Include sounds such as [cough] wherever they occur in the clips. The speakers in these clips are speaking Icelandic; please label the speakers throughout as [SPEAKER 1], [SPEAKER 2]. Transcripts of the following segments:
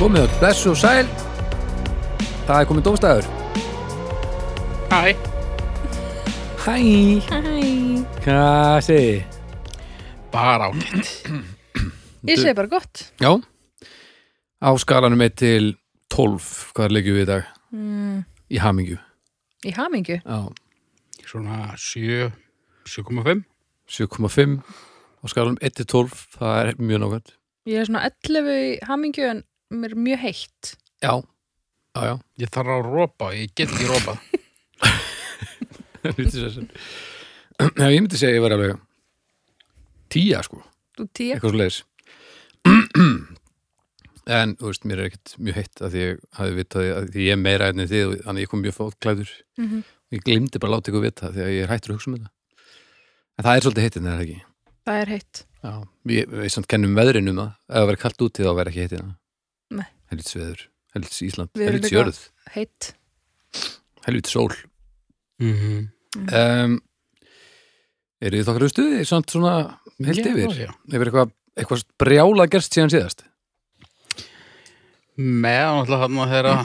[SPEAKER 1] komið öll, blessu og sæl Það er komið dómstæður
[SPEAKER 2] Hæ,
[SPEAKER 1] Hæ,
[SPEAKER 3] Æ,
[SPEAKER 1] hvað segi?
[SPEAKER 2] bara ágætt
[SPEAKER 3] ég segi bara gott
[SPEAKER 1] Já Á skalanum 1 til 12 Hvað leggjum við í dag?
[SPEAKER 3] mm,
[SPEAKER 1] Í hamingju
[SPEAKER 3] Í hamingju
[SPEAKER 1] Já,
[SPEAKER 2] Svona 7, 7,5
[SPEAKER 1] 7,5 Á skalanum 1 til 12 Það er mjög nákvæmt
[SPEAKER 3] Ég er svona 11 í hamingju en mér er mjög heitt
[SPEAKER 1] Já, já, já
[SPEAKER 2] Ég þarf að rópa, ég get ekki rópað
[SPEAKER 1] Lítið sér sem. Já, Ég myndi segja að ég var alveg Tía sko,
[SPEAKER 3] Þú tíu
[SPEAKER 1] eitthvað svo leiðis [clears throat] En, þú veist, mér er ekkert mjög heitt að því ég hafi vitað að því ég er meira enn þið og þannig ég kom mjög fótklæður
[SPEAKER 3] mm
[SPEAKER 1] Ég glimti bara að láta ykkur vita því að ég er hættur að hugsa um þetta. En það er svolítið hittin, er það ekki?
[SPEAKER 3] Það er heitt
[SPEAKER 1] Já. Við, við samt kennum veðrinu um það. Ef það verður kalt úti þá verður ekki hittin.
[SPEAKER 3] Nei.
[SPEAKER 1] Helvits veður, helvits Ísland,
[SPEAKER 3] Við erum
[SPEAKER 1] helvits
[SPEAKER 3] líka-
[SPEAKER 1] jörð,
[SPEAKER 3] Heitt
[SPEAKER 1] helvits sól.
[SPEAKER 2] mm -hmm.
[SPEAKER 1] Um, eru þið þokkar stuði samt svona heilt yfir?
[SPEAKER 2] já.
[SPEAKER 1] Yfir eitthvað, eitthvað brjála gerst síðan síðast?
[SPEAKER 2] Með náttúrulega þarna þegar að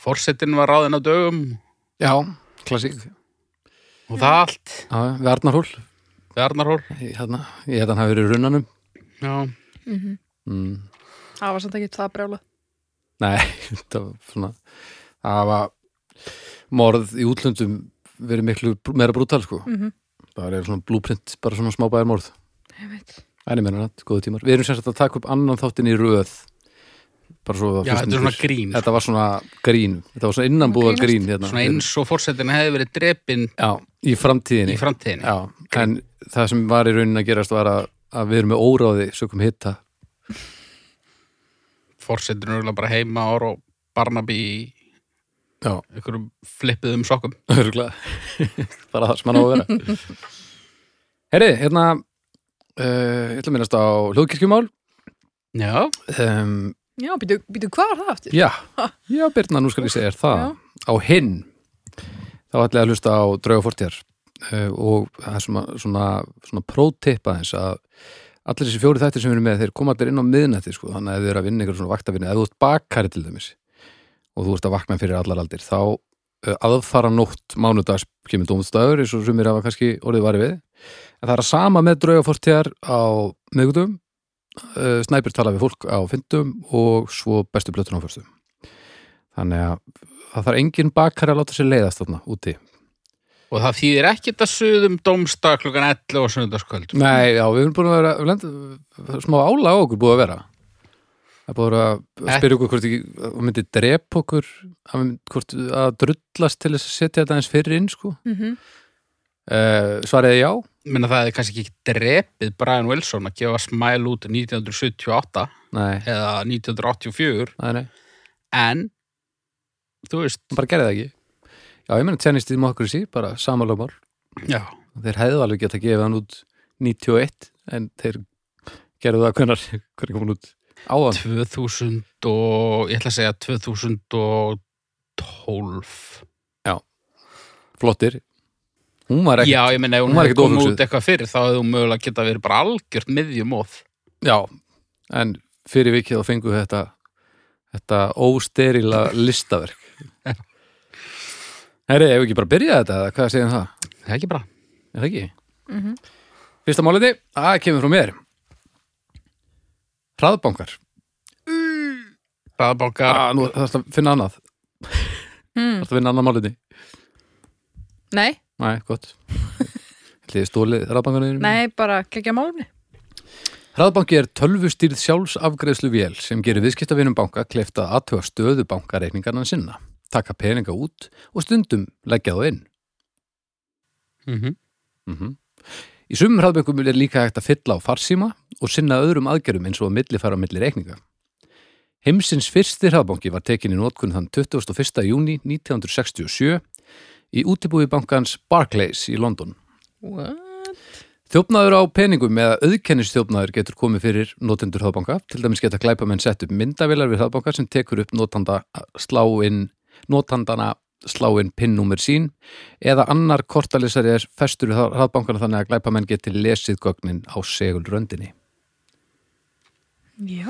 [SPEAKER 2] Forsetin var ráðin á dögum
[SPEAKER 1] Já, klassík.
[SPEAKER 2] Og það allt
[SPEAKER 1] Já, við Arnarhól.
[SPEAKER 2] Við Arnarhól
[SPEAKER 1] Ég hérna, ég hérna hafi verið í runnanum.
[SPEAKER 2] Já,
[SPEAKER 3] mm -hmm.
[SPEAKER 1] Mm,
[SPEAKER 3] Það var samt ekki það brjála
[SPEAKER 1] Nei, það var svona það var morð í útlöndum verið miklu br- meira brútal sko
[SPEAKER 3] mm -hmm.
[SPEAKER 1] bara er svona blúprint, bara svona smá bæjar morð
[SPEAKER 3] Ég veit
[SPEAKER 1] en ég menna nætt, góðu tímar við erum sem sagt að taka upp annan þáttinn í röð bara svo það
[SPEAKER 2] já þetta er svona
[SPEAKER 1] grín
[SPEAKER 2] grín
[SPEAKER 1] um
[SPEAKER 2] sko.
[SPEAKER 1] þetta var svona grín, þetta var svona innanbúða
[SPEAKER 3] Að grínast.
[SPEAKER 1] grín hérna.
[SPEAKER 2] Svona eins og forsetin hefði verið drepin
[SPEAKER 1] já, í
[SPEAKER 2] í
[SPEAKER 1] framtíðinni
[SPEAKER 2] framtíðinni
[SPEAKER 1] já, en það sem var í raunin að gerast var að, að við erum með óráði sökum hitta
[SPEAKER 2] Forsetin er örugglega bara heima ára og Barnaby í
[SPEAKER 1] já,
[SPEAKER 2] einhverjum flippuðum sokkum
[SPEAKER 1] Örgulega, [laughs] bara það sem hann á að vera Herri, hérna uh, ég ætla að minnast á hljóðkirkjumál
[SPEAKER 2] Já,
[SPEAKER 1] um,
[SPEAKER 3] Já, býtu, býtu hvað var það aftur?
[SPEAKER 1] Já, já Birna, nú skal ég segja þér það
[SPEAKER 3] Já.
[SPEAKER 1] á hinn þá ætla ég að hlusta á draugafortjar uh, og það er svona, svona, svona prótipa þess að allir þessi fjóri þættir sem við erum með, þeir koma allir inn á miðnætti sko, þannig að ef þið eru að vinna ykkur svona vaktavinni ef þú ert bakari til dæmis og þú ert að vakna fyrir allar aldir, þá uh, aðfara nótt mánudags kemur dómstæður, eins og sumir hafa kannski orðið varið við en það er að sama með draugafortjar á miðgutum uh, Snæpir tala við fólk á fyndum og svo bestu blötun á fyrstum þannig að það þarf engin bakari að láta sér leiðast þarna úti
[SPEAKER 2] og það þýðir ekkit að suðum dómstag klukkan 11 og sunnudagskvöld
[SPEAKER 1] Nei, já, við erum búin að vera lend, smá álag á okkur búið að vera það er búið að vera að spyrja okkur hvort ekki, að myndi drep okkur að, við- hvort að drullast til þess að setja þetta eins fyrir inn sko.
[SPEAKER 3] Mm -hmm.
[SPEAKER 1] uh, svariði já
[SPEAKER 2] Minna það hefði kannski ekki drepið Brian Wilson að gefa smæl út 1978
[SPEAKER 1] Nei,
[SPEAKER 2] eða 1984
[SPEAKER 1] nei, nei,
[SPEAKER 2] en þú veist
[SPEAKER 1] hann bara gerði það ekki Já, ég meni tennist í mokkur sí, bara samalögmál
[SPEAKER 2] já,
[SPEAKER 1] þeir hefðu alveg geta gefið hann út 91 en þeir gerðu það hvernar, hvernig kom hann út áðan
[SPEAKER 2] 2000 og ég ætla að segja 2012
[SPEAKER 1] flottir hún var ekki,
[SPEAKER 2] já, ég meina ef
[SPEAKER 1] Hún
[SPEAKER 2] hún
[SPEAKER 1] var
[SPEAKER 2] hefði
[SPEAKER 1] ekkert
[SPEAKER 2] komið
[SPEAKER 1] ofhugsuð.
[SPEAKER 2] út eitthvað fyrir þá hefði hún mögulega geta verið bara algjört miðjumóð
[SPEAKER 1] já. en fyrir vikið þá fengu þetta þetta ósterila listaverk herri, ef ekki bara byrja þetta eða hvað segir um það,
[SPEAKER 2] það er ekki bara
[SPEAKER 1] er það ekki?
[SPEAKER 3] Mm -hmm.
[SPEAKER 1] Fyrsta máliði, að kemur frá mér hraðbankar
[SPEAKER 2] hraðbánkar,
[SPEAKER 1] að nú þarfst að finna annað þarfst að finna annað máliði
[SPEAKER 3] Nei,
[SPEAKER 1] Nei, gott Ætliði stólið hraðbankanum
[SPEAKER 3] nei, bara kekja málumni
[SPEAKER 1] Hraðbanki er tölvustýrð sjálfsafgreðslu vél sem gerir viðskiptavinum banka kleift að aðtöga stöðu bankareikningarna sinna, taka peninga út og stundum leggja þá inn.
[SPEAKER 2] mm
[SPEAKER 1] Mm Í sumum hraðböngum er líka hægt að fylla á farsíma og sinna öðrum aðgerum eins og að millifæra á milli reikninga. Heimsins fyrsti hraðbanki var tekin í nótkunn þann 21. júni 1967 í útibúi bankans Barclays í London.
[SPEAKER 3] What?
[SPEAKER 1] Þjófnaður á peningum eða auðkennisþjófnaður getur komið fyrir notendur hraðbanka. Til dæmis geta glæpamenn sett upp myndavilar við hraðbanka sem tekur upp notanda slá inn, notandana slá inn pinnúmer sín eða annar kortalisari er festur við hraðbankana þannig að glæpamenn geti lesið gögnin á segulröndinni.
[SPEAKER 3] Já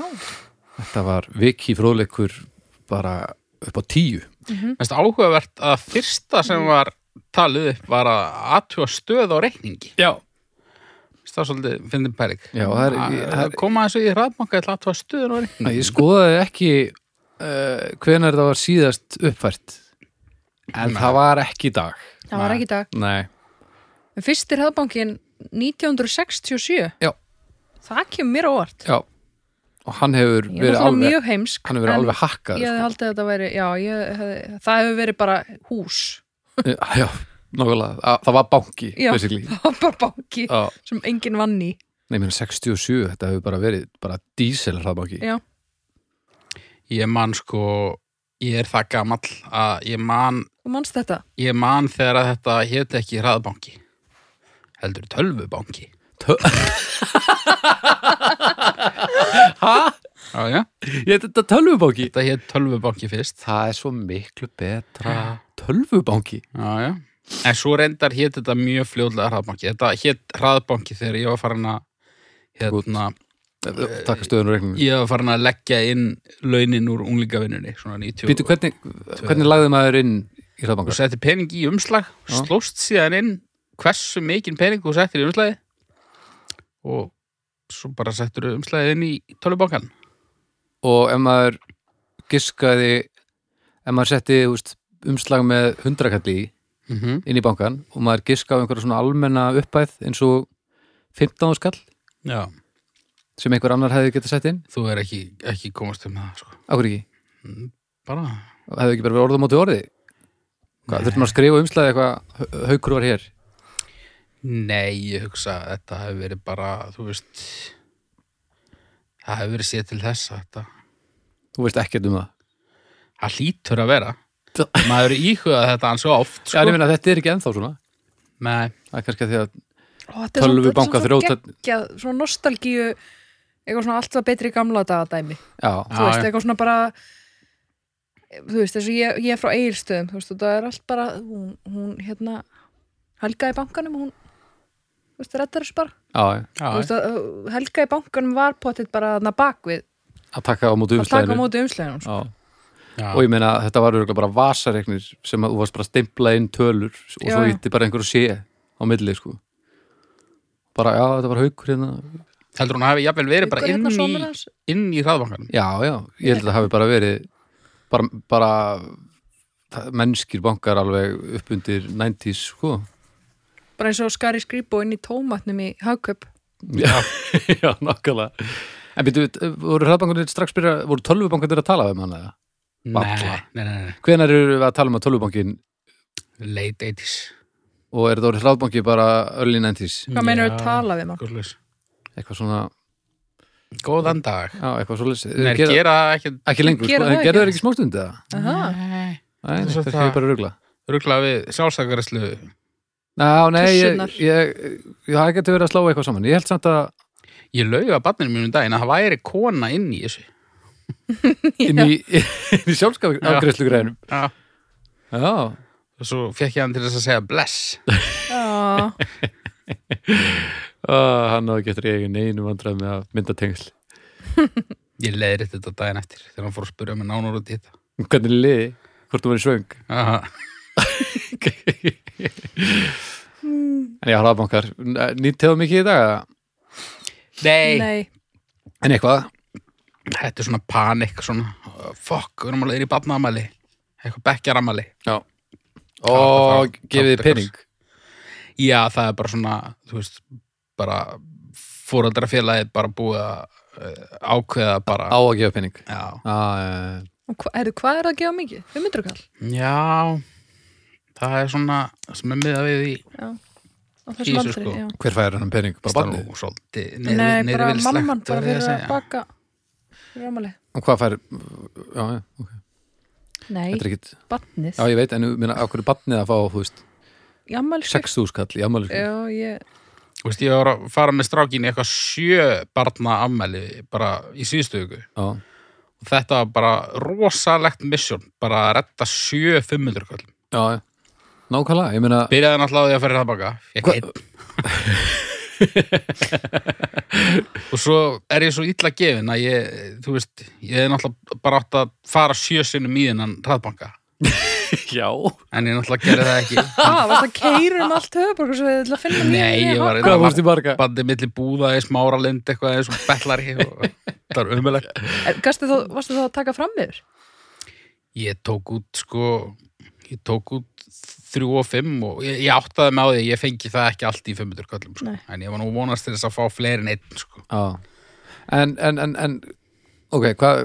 [SPEAKER 1] þetta var viki fróðleikur bara upp á tíu
[SPEAKER 2] Mest áhugavert að fyrsta sem var talið upp var að athuga stöð á reikningi.
[SPEAKER 1] já,
[SPEAKER 2] Mér finnst Það er svolítið fyndin pæling.
[SPEAKER 1] Já, það er- ég- það
[SPEAKER 2] það
[SPEAKER 1] er-
[SPEAKER 2] koma þessu í hraðbanka til að athuga stöðun á reikningi.
[SPEAKER 1] ég sko- skoðaði ekki uh, hvenær það var síðast uppfært en það var ekki í dag
[SPEAKER 3] það var
[SPEAKER 2] Nei.
[SPEAKER 3] ekki í dag Um
[SPEAKER 1] nei,
[SPEAKER 3] en fyrst er hraðbankin 1967
[SPEAKER 1] Já.
[SPEAKER 3] það kemur mér á óvart
[SPEAKER 1] já og hann hefur
[SPEAKER 3] ég er
[SPEAKER 1] verið
[SPEAKER 3] náttúrulega
[SPEAKER 1] alveg
[SPEAKER 3] mjög heimsk
[SPEAKER 1] hann hefur verið
[SPEAKER 3] en
[SPEAKER 1] alveg hakkað
[SPEAKER 3] ég hefði
[SPEAKER 1] sko.
[SPEAKER 3] haldið að þetta væri já, ég, hefði, það hefur verið bara hús
[SPEAKER 1] já, nákvæmlega, Að- það var banki
[SPEAKER 3] Já.
[SPEAKER 1] basically
[SPEAKER 3] það var bara
[SPEAKER 2] Ah.
[SPEAKER 3] banki
[SPEAKER 1] Já,
[SPEAKER 3] sem enginn vann í
[SPEAKER 1] nei, mér 67, þetta hefur bara verið bara dísel hraðbanki
[SPEAKER 3] já,
[SPEAKER 2] Ég man sko, ég er það gamall að ég man,
[SPEAKER 3] þú manst þetta
[SPEAKER 2] ég man þegar að þetta hétt ekki hraðbanki. Heldur tölvubanki.
[SPEAKER 1] Hæ?
[SPEAKER 2] Já, já.
[SPEAKER 1] Þetta er tölvubanki?
[SPEAKER 2] Þetta hétt tölvubanki fyrst.
[SPEAKER 1] Það er svo miklu betra tölvubanki
[SPEAKER 2] Já, já. En svo reyndar hétt þetta mjög fljóðlega hraðbanki. Þetta hétt hraðbanki þegar ég var farin að hérna,
[SPEAKER 1] Takk stöðun og reikningum
[SPEAKER 2] ég var farin að leggja inn launin úr unglingavinnunni, svona 90
[SPEAKER 1] Býtu, hvernig, hvernig lagði maður inn í
[SPEAKER 2] og
[SPEAKER 1] hraðbanka?
[SPEAKER 2] setti pening í umslag,
[SPEAKER 1] Já.
[SPEAKER 2] slóst síðan inn hversu mikinn pening þú settir í umslagi og svo bara settur umslagið inn í tölubankan.
[SPEAKER 1] Og ef maður giskaði ef maður setti úst, umslag með hundrakalli í,
[SPEAKER 2] Mm -hmm.
[SPEAKER 1] inn í bankan og maður giskaði á einhverja svona almenna uppæð eins og 15 skall
[SPEAKER 2] Já,
[SPEAKER 1] sem einhver annar hefði getað sett inn
[SPEAKER 2] þú er ekki, ekki komast um það, sko.
[SPEAKER 1] Akkur ekki,
[SPEAKER 2] Bara,
[SPEAKER 1] hefði ekki bara verið orðum á til orði Hvað, þurftum maður að skrifa um umslagið eitthvað "Hau- haukur var hér
[SPEAKER 2] nei, ég hugsa að þetta hefur verið bara, þú veist, það hefur verið séð til þess að þetta,
[SPEAKER 1] Þú veist ekkert um það
[SPEAKER 2] það hlýtur að vera.
[SPEAKER 1] Það-
[SPEAKER 2] Maður er íhugað þetta hann svo oft,
[SPEAKER 1] Já, en ég
[SPEAKER 2] sko.
[SPEAKER 1] meina, þetta er ekki ennþá svona
[SPEAKER 2] Nei,
[SPEAKER 1] Það er kannski að því að
[SPEAKER 3] Ó, þetta er svo-
[SPEAKER 1] Tölvu
[SPEAKER 3] þetta er
[SPEAKER 1] banka
[SPEAKER 3] svo
[SPEAKER 1] þrjóta-
[SPEAKER 3] geggjað, svona nostalgíu eitthvað svona allt var betri í gamla dagadæmi
[SPEAKER 1] Já,
[SPEAKER 2] Já,
[SPEAKER 3] þú veist,
[SPEAKER 2] Ah, já.
[SPEAKER 3] eitthvað svona bara þú veist, þessu ég, ég er frá eigilstöðum þú veist, og það er allt bara hún, hún hérna, Helga í bankanum hún, þú veist, rettar þessu bara
[SPEAKER 1] já, já.
[SPEAKER 2] Ah, já,
[SPEAKER 3] þú veist, að, uh, Helga í bankanum var potið bara þarna bakvið
[SPEAKER 1] að taka á móti
[SPEAKER 3] að taka á
[SPEAKER 1] umslæðinu
[SPEAKER 3] móti umslæðinu
[SPEAKER 2] Ah,
[SPEAKER 3] sko.
[SPEAKER 2] já.
[SPEAKER 1] og ég meina þetta var örugglega bara vasareiknir sem að þú varst bara að stimpla inn tölur og
[SPEAKER 3] Já,
[SPEAKER 1] svo
[SPEAKER 3] já.
[SPEAKER 1] ítti bara einhverju sé á milli sko bara já þetta var haukur hérna
[SPEAKER 2] heldur hún hafi jafnvel verið bara
[SPEAKER 3] Haukur
[SPEAKER 2] inn
[SPEAKER 3] hérna
[SPEAKER 2] í,
[SPEAKER 3] sonur hans.
[SPEAKER 2] inn í hraðbankanum.
[SPEAKER 1] já já ég held að það hafi bara verið bara, bara það- mennskir bankar alveg upp undir 90s sko
[SPEAKER 3] bara eins og skari skrýpo inn í tómatnum í hagköp
[SPEAKER 1] já, [laughs] já nokkala en byrju, voru hraðbankunir strax byrja voru tölvubankunir að tala um hana eða?
[SPEAKER 2] Nei,
[SPEAKER 1] Varla.
[SPEAKER 2] nei, nei, nei.
[SPEAKER 1] hvenær eru við að tala um að tölvubankin
[SPEAKER 2] late 80s.
[SPEAKER 1] og er þetta orðið hraðbanki bara early 90s
[SPEAKER 3] hvað meinar við tala við mann?
[SPEAKER 2] Gullus.
[SPEAKER 1] eitthvað svona,
[SPEAKER 2] Góðan dag.
[SPEAKER 1] já eitthvað svo leysið
[SPEAKER 2] Nei, gera, gera ekki
[SPEAKER 1] ekki lengur,
[SPEAKER 3] Gera
[SPEAKER 1] sko,
[SPEAKER 3] það
[SPEAKER 1] en
[SPEAKER 3] ekki.
[SPEAKER 1] gerðu þeir ekki smástund eða?
[SPEAKER 3] Aha.
[SPEAKER 1] Nei,
[SPEAKER 2] Það
[SPEAKER 1] nei,
[SPEAKER 2] er svo
[SPEAKER 1] það
[SPEAKER 2] það-
[SPEAKER 1] er bara að rugla
[SPEAKER 2] ruggla við sjálfsakaræslu.
[SPEAKER 1] Ná, nei, ég,
[SPEAKER 3] Tussurnar.
[SPEAKER 1] ég, ég, það getur verið að slá eitthvað saman Ég held samt að
[SPEAKER 2] Ég lauði að barninu mínum um daginn að það væri kona inn í þessu.
[SPEAKER 1] inn í, inn í sjálfskafgræslu greinum
[SPEAKER 2] Já.
[SPEAKER 1] Já,
[SPEAKER 2] Og svo fekk ég hann til þess að segja bless.
[SPEAKER 3] Já.
[SPEAKER 1] Ó, hann á getur ég neinu vandræð með að mynda tengsl
[SPEAKER 2] Ég leiðir þetta daginn eftir þegar hann fór að spyrja mig nánar út í þetta.
[SPEAKER 1] Hvernig er liði, hvort þú verið svöng
[SPEAKER 2] Aha.
[SPEAKER 1] En ég harfa bankar, nýtteðu mikið í dag eða?
[SPEAKER 2] Nei.
[SPEAKER 3] nei,
[SPEAKER 1] En eitthvað,
[SPEAKER 2] þetta er svona panik, svona uh, fuck, við erum að leiðir í barnaamæli. Eitthvað bekkjaramæli.
[SPEAKER 1] og
[SPEAKER 2] það-
[SPEAKER 1] gefið
[SPEAKER 2] það-
[SPEAKER 1] þið pening
[SPEAKER 2] Já, það er bara svona, þú veist, bara fóröldrafélagið bara búið að uh, ákveða bara.
[SPEAKER 1] Á að gefa pening
[SPEAKER 2] Já.
[SPEAKER 1] Já, eh,
[SPEAKER 3] og hva, er, hvað er það að gefa mikið? 500 kall?
[SPEAKER 2] Já, það er svona sem er miða við í
[SPEAKER 3] á þessum
[SPEAKER 2] Jesus,
[SPEAKER 3] aldri,
[SPEAKER 2] sko.
[SPEAKER 3] já.
[SPEAKER 1] hver fær hann pening? Bara
[SPEAKER 2] Star-
[SPEAKER 1] barnið?
[SPEAKER 2] og svolítið
[SPEAKER 3] Nei,
[SPEAKER 2] niður-
[SPEAKER 3] bara
[SPEAKER 2] niðurvilslegt,
[SPEAKER 3] mamman bara
[SPEAKER 2] verð ég að
[SPEAKER 3] fyrir að
[SPEAKER 2] segja.
[SPEAKER 3] baka fyrir ámali
[SPEAKER 1] Og hvað fær, já, já, ok
[SPEAKER 3] Nei,
[SPEAKER 1] Þetta er ekkit
[SPEAKER 3] batnið
[SPEAKER 1] Já, ég veit, en minna, á hverju barnið að fá, þú veist,
[SPEAKER 3] Í afmæli
[SPEAKER 1] 6.000 kall í sko? ammælisku.
[SPEAKER 3] Já, ég
[SPEAKER 2] Þú veist, ég var að fara með strákin í eitthvað sjö barna ammæli bara í síðustu viku
[SPEAKER 1] Já,
[SPEAKER 2] og þetta var bara rosalegt misjón bara að retta sjö 500 kvöld
[SPEAKER 1] já, já. Nákvæmlega, ég meina,
[SPEAKER 2] byrjaði náttúrulega á því að fyrir það baka
[SPEAKER 1] Hva-
[SPEAKER 2] Fekk einn. [laughs] og svo er ég svo illa gefin að ég, þú veist, ég er náttúrulega bara átt að fara sjösunum í þennan hraðbanka,
[SPEAKER 1] [laughs] Já
[SPEAKER 2] en ég náttúrulega gerði það
[SPEAKER 1] [laughs]
[SPEAKER 2] ekki
[SPEAKER 3] Ah, varst að keira um allt höfuborgarsveið til að finna
[SPEAKER 2] Nei, ég var
[SPEAKER 1] Hvað fórst í marga?
[SPEAKER 2] bandið milli búða í smáralind eitthvað eins og bellari og
[SPEAKER 1] [laughs]
[SPEAKER 2] það er umjulegt
[SPEAKER 3] Gastu þá, varstu þá að taka fram yfir?
[SPEAKER 2] ég tók út sko ég tók út þrjú og fimm og ég, ég áttaði með á því að ég fengi það ekki allt í 500 köllum sko.
[SPEAKER 3] Nei.
[SPEAKER 2] en ég var nú vonast til þess að fá fleiri en einn sko.
[SPEAKER 1] Já. En, en, en, en ok, hvað,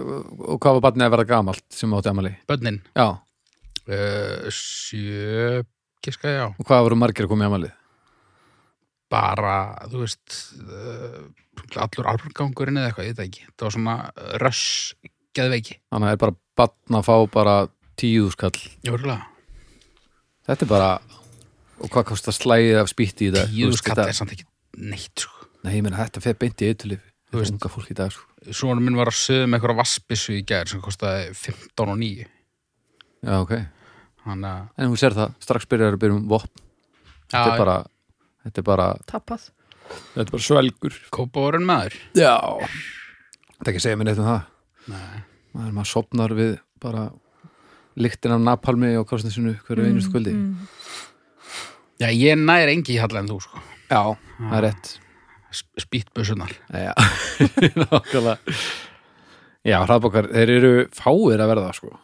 [SPEAKER 1] og hvað var barnið að vera gamalt sem átti amali?
[SPEAKER 2] bönnin
[SPEAKER 1] Já,
[SPEAKER 2] uh, sjö kiska já,
[SPEAKER 1] og hvað voru margir að koma í amalið?
[SPEAKER 2] bara þú veist uh, allur albrangangurinn eða eitthvað, ég veit það ekki það var svona eh, rush geðveiki,
[SPEAKER 1] Þannig að er bara barn að fá bara tíu skall.
[SPEAKER 2] jórgulega
[SPEAKER 1] Þetta er bara, og hvað kostar slæðið af spýtti í dag? Þú
[SPEAKER 2] tíu
[SPEAKER 1] veist,
[SPEAKER 2] skall
[SPEAKER 1] þetta-
[SPEAKER 2] er samt ekki neitt sko.
[SPEAKER 1] Nei, ég meina þetta fer beint í eitthulif.
[SPEAKER 2] Þú
[SPEAKER 1] Þetta
[SPEAKER 2] veist.
[SPEAKER 1] er unga fólk í dag, sko.
[SPEAKER 2] svona minn var að sögðu með eitthvað vassbissu í gær sem kostaði 15 og 9
[SPEAKER 1] Já, ok.
[SPEAKER 2] þannig að
[SPEAKER 1] En hún sér það, strax byrjar að byrja um vopn. Þetta er bara, þetta er bara,
[SPEAKER 3] Tappað.
[SPEAKER 1] þetta er bara svelgur.
[SPEAKER 2] Kópavorun maður
[SPEAKER 1] Já. Þetta er ekki að segja mér neitt um það.
[SPEAKER 2] Nei.
[SPEAKER 1] Maður, maður sopnar við bara lyktin af napalmi og kostnarsinu hverju mm, einustu kvöldi.
[SPEAKER 2] Já, ég nær engi í halla en þú sko
[SPEAKER 1] Já, það er rétt.
[SPEAKER 2] Spýtbössunar
[SPEAKER 1] Já, [laughs] nákvæmlega Já, hraðbókar, þeir eru fáir að verða sko. og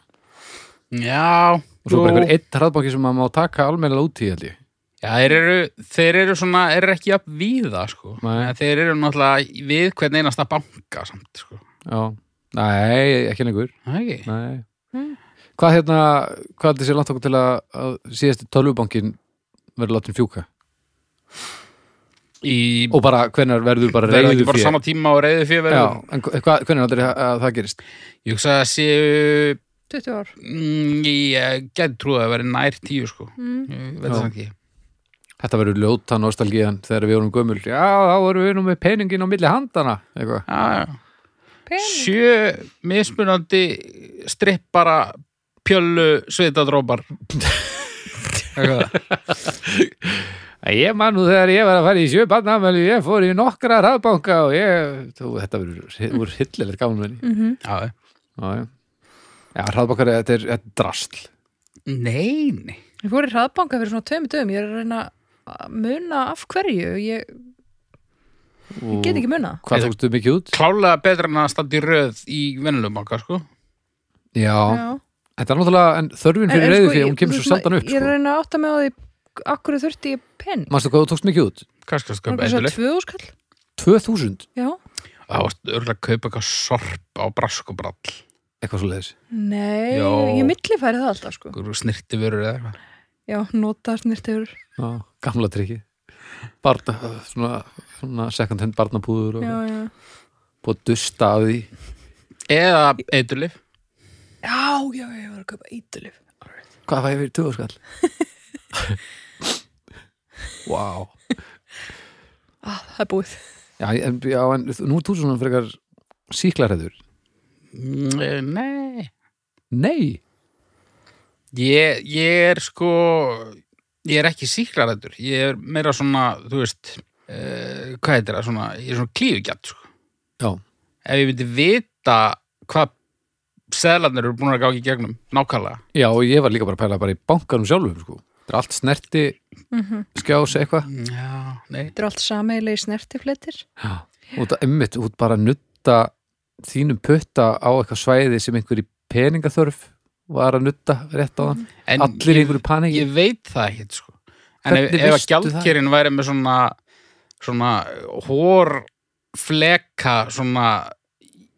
[SPEAKER 2] Já,
[SPEAKER 1] svo bara
[SPEAKER 2] jú.
[SPEAKER 1] einhver einn hraðbóki sem maður má taka almennilega út í held ég
[SPEAKER 2] Já, þeir eru, þeir eru svona, þeir eru ekki jafn víða sko
[SPEAKER 1] Nei.
[SPEAKER 2] En Þeir eru náttúrulega við hvern einasta banka samt sko
[SPEAKER 1] Já, nei, ekki lengur
[SPEAKER 2] Það ekki?
[SPEAKER 1] Nei
[SPEAKER 3] Mm.
[SPEAKER 1] Hvað hérna, hvað heldur sér langt okkur til að, að síðasti tölvubankin verður látin fjúka
[SPEAKER 2] Í,
[SPEAKER 1] og bara hvernig verður bara
[SPEAKER 2] verður ekki
[SPEAKER 1] reyðu
[SPEAKER 2] bara
[SPEAKER 1] fyrir
[SPEAKER 2] sama tíma og reyðu fyrir
[SPEAKER 1] Já,
[SPEAKER 2] verður
[SPEAKER 1] en hvað, hvernig heldur að, eh, að það gerist
[SPEAKER 2] Ég hugsa að séu,
[SPEAKER 3] 20 ár.
[SPEAKER 2] mm, ég get trúið að vera nær tíu sko
[SPEAKER 3] Mm.
[SPEAKER 2] Ég veit
[SPEAKER 1] Já.
[SPEAKER 2] það ekki
[SPEAKER 1] Þetta verður ljóta nostalgíðan þegar við vorum gömul Já, þá vorum við nú með peningin á milli handana eitthvað
[SPEAKER 2] Já, já
[SPEAKER 3] Pening.
[SPEAKER 2] sjö mismunandi strippara pjöllu
[SPEAKER 1] [laughs]
[SPEAKER 2] sveitadrópar
[SPEAKER 1] Ég man nú þegar ég var að fara í sjö barnamæli, ég fór í nokkra rafbanka og ég, þú, þetta verður úr hillilegt gaman menni.
[SPEAKER 3] Mm -hmm.
[SPEAKER 2] Já,
[SPEAKER 1] Já, já. Já, rafbankar, þetta er, þetta er drasl.
[SPEAKER 2] nei, nei
[SPEAKER 3] Ég fór í hraðbanka fyrir svona tveimur dögum. Ég er að reyna að muna af hverju. Ég
[SPEAKER 1] Ég
[SPEAKER 3] get ekki muna.
[SPEAKER 1] Hvað tókstu mikið út?
[SPEAKER 2] klálega betra en að standa í röð í vennulegum banka, sko
[SPEAKER 1] Já,
[SPEAKER 3] Já. sko,
[SPEAKER 1] þetta er náttúrulega, en þörfin fyrir reyði fyrir, hún kemur svo sjaldan upp,
[SPEAKER 3] Ég er að
[SPEAKER 1] sko.
[SPEAKER 3] reyna að átta með á því akkur þurfti ég pening.
[SPEAKER 1] Manstu hvað þú tókst mikið út?
[SPEAKER 2] kannski að
[SPEAKER 3] Var
[SPEAKER 2] sköpa
[SPEAKER 3] það svona
[SPEAKER 2] eitthvað
[SPEAKER 3] tvö úrskall?
[SPEAKER 1] 2000?
[SPEAKER 3] Já.
[SPEAKER 2] það var örgulega að kaupa eitthvað sorp á braskobrall
[SPEAKER 1] Eitthvað svo leiðis.
[SPEAKER 3] Nei,
[SPEAKER 2] Já.
[SPEAKER 3] ég millifæri það alltaf sko.
[SPEAKER 2] einhverju snirti vörur eða eitthvað
[SPEAKER 3] Já, nota snirtiður.
[SPEAKER 1] Já, gamla trikki. Barna, svona, svona second hand barnabúður og
[SPEAKER 3] Já, já.
[SPEAKER 1] búið að dusta af því.
[SPEAKER 2] eða eitthulif
[SPEAKER 3] Já, já, já, ég var að kaupa eitulif.
[SPEAKER 1] Hvað fæði fyrir
[SPEAKER 3] [laughs]
[SPEAKER 1] tugurskall? Vá. wow.
[SPEAKER 3] Ah, það er búið.
[SPEAKER 1] Já, en, já, en nú er þú svona frekar síklarheður.
[SPEAKER 2] Mm, eh, nei
[SPEAKER 1] Nei,
[SPEAKER 2] ég, ég er sko ég er ekki síklarættur ég er meira svona, þú veist uh, hvað heitir það, svona, ég er svona klífugjart sko
[SPEAKER 1] já,
[SPEAKER 2] ef ég myndi vita hvað seðlarnir eru búin að gá í gegnum nákvæmlega
[SPEAKER 1] já og ég var líka bara að pæla bara í bankanum sjálfum sko. Það er allt snerti skjás eitthvað
[SPEAKER 2] Mm, Já, nei
[SPEAKER 3] Þetta er allt sameiglega snertifletir.
[SPEAKER 1] Já. og það emmitt, þú ert bara að nutta þínum putta á eitthvað svæði sem einhver í peningaþörf var að nutta rétt á þann
[SPEAKER 2] en
[SPEAKER 1] Allir í
[SPEAKER 2] ég,
[SPEAKER 1] einhverju paningi
[SPEAKER 2] ég veit það ekki sko. en ef,
[SPEAKER 1] Hvernig
[SPEAKER 2] ef að
[SPEAKER 1] veistu
[SPEAKER 2] gjaldkerinn væri með svona svona hór fleka svona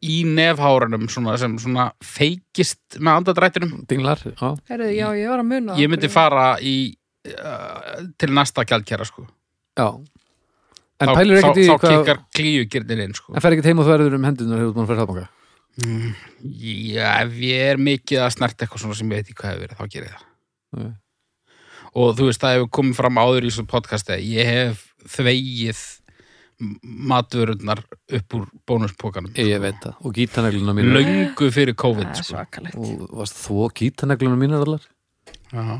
[SPEAKER 2] í nefhárunum svona, sem svona feikist með andadrættinum
[SPEAKER 1] Dinglar, já,
[SPEAKER 3] Herðu, já, ég var að muna.
[SPEAKER 2] ég myndi
[SPEAKER 3] af hverju.
[SPEAKER 2] fara í uh, til næsta gjaldkera sko.
[SPEAKER 1] já. En
[SPEAKER 2] þá,
[SPEAKER 1] pælir
[SPEAKER 2] þá,
[SPEAKER 1] ekkert í
[SPEAKER 2] þá
[SPEAKER 1] hvað
[SPEAKER 2] kikkar klíugirnin inn sko.
[SPEAKER 1] En fer ekkert heim og þú verður um hendunar hefur búin að fyrir þaðbanga
[SPEAKER 2] Mm, Já, ef ég er mikið að snert eitthvað svona sem ég veit ekki hvað hefur verið, þá gerir ég það.
[SPEAKER 1] Nei.
[SPEAKER 2] Og þú veist, það hefur komið fram áður í þessu podcasti að ég hef þvegið m- matvörurnar upp úr bónuspokanum. sko.
[SPEAKER 1] Ég veit það, og gítanegluna mín
[SPEAKER 2] Löngu fyrir COVID,
[SPEAKER 3] Það er
[SPEAKER 2] sko.
[SPEAKER 3] svakalegt.
[SPEAKER 1] og varst þó gítanegluna mín allar
[SPEAKER 2] Já.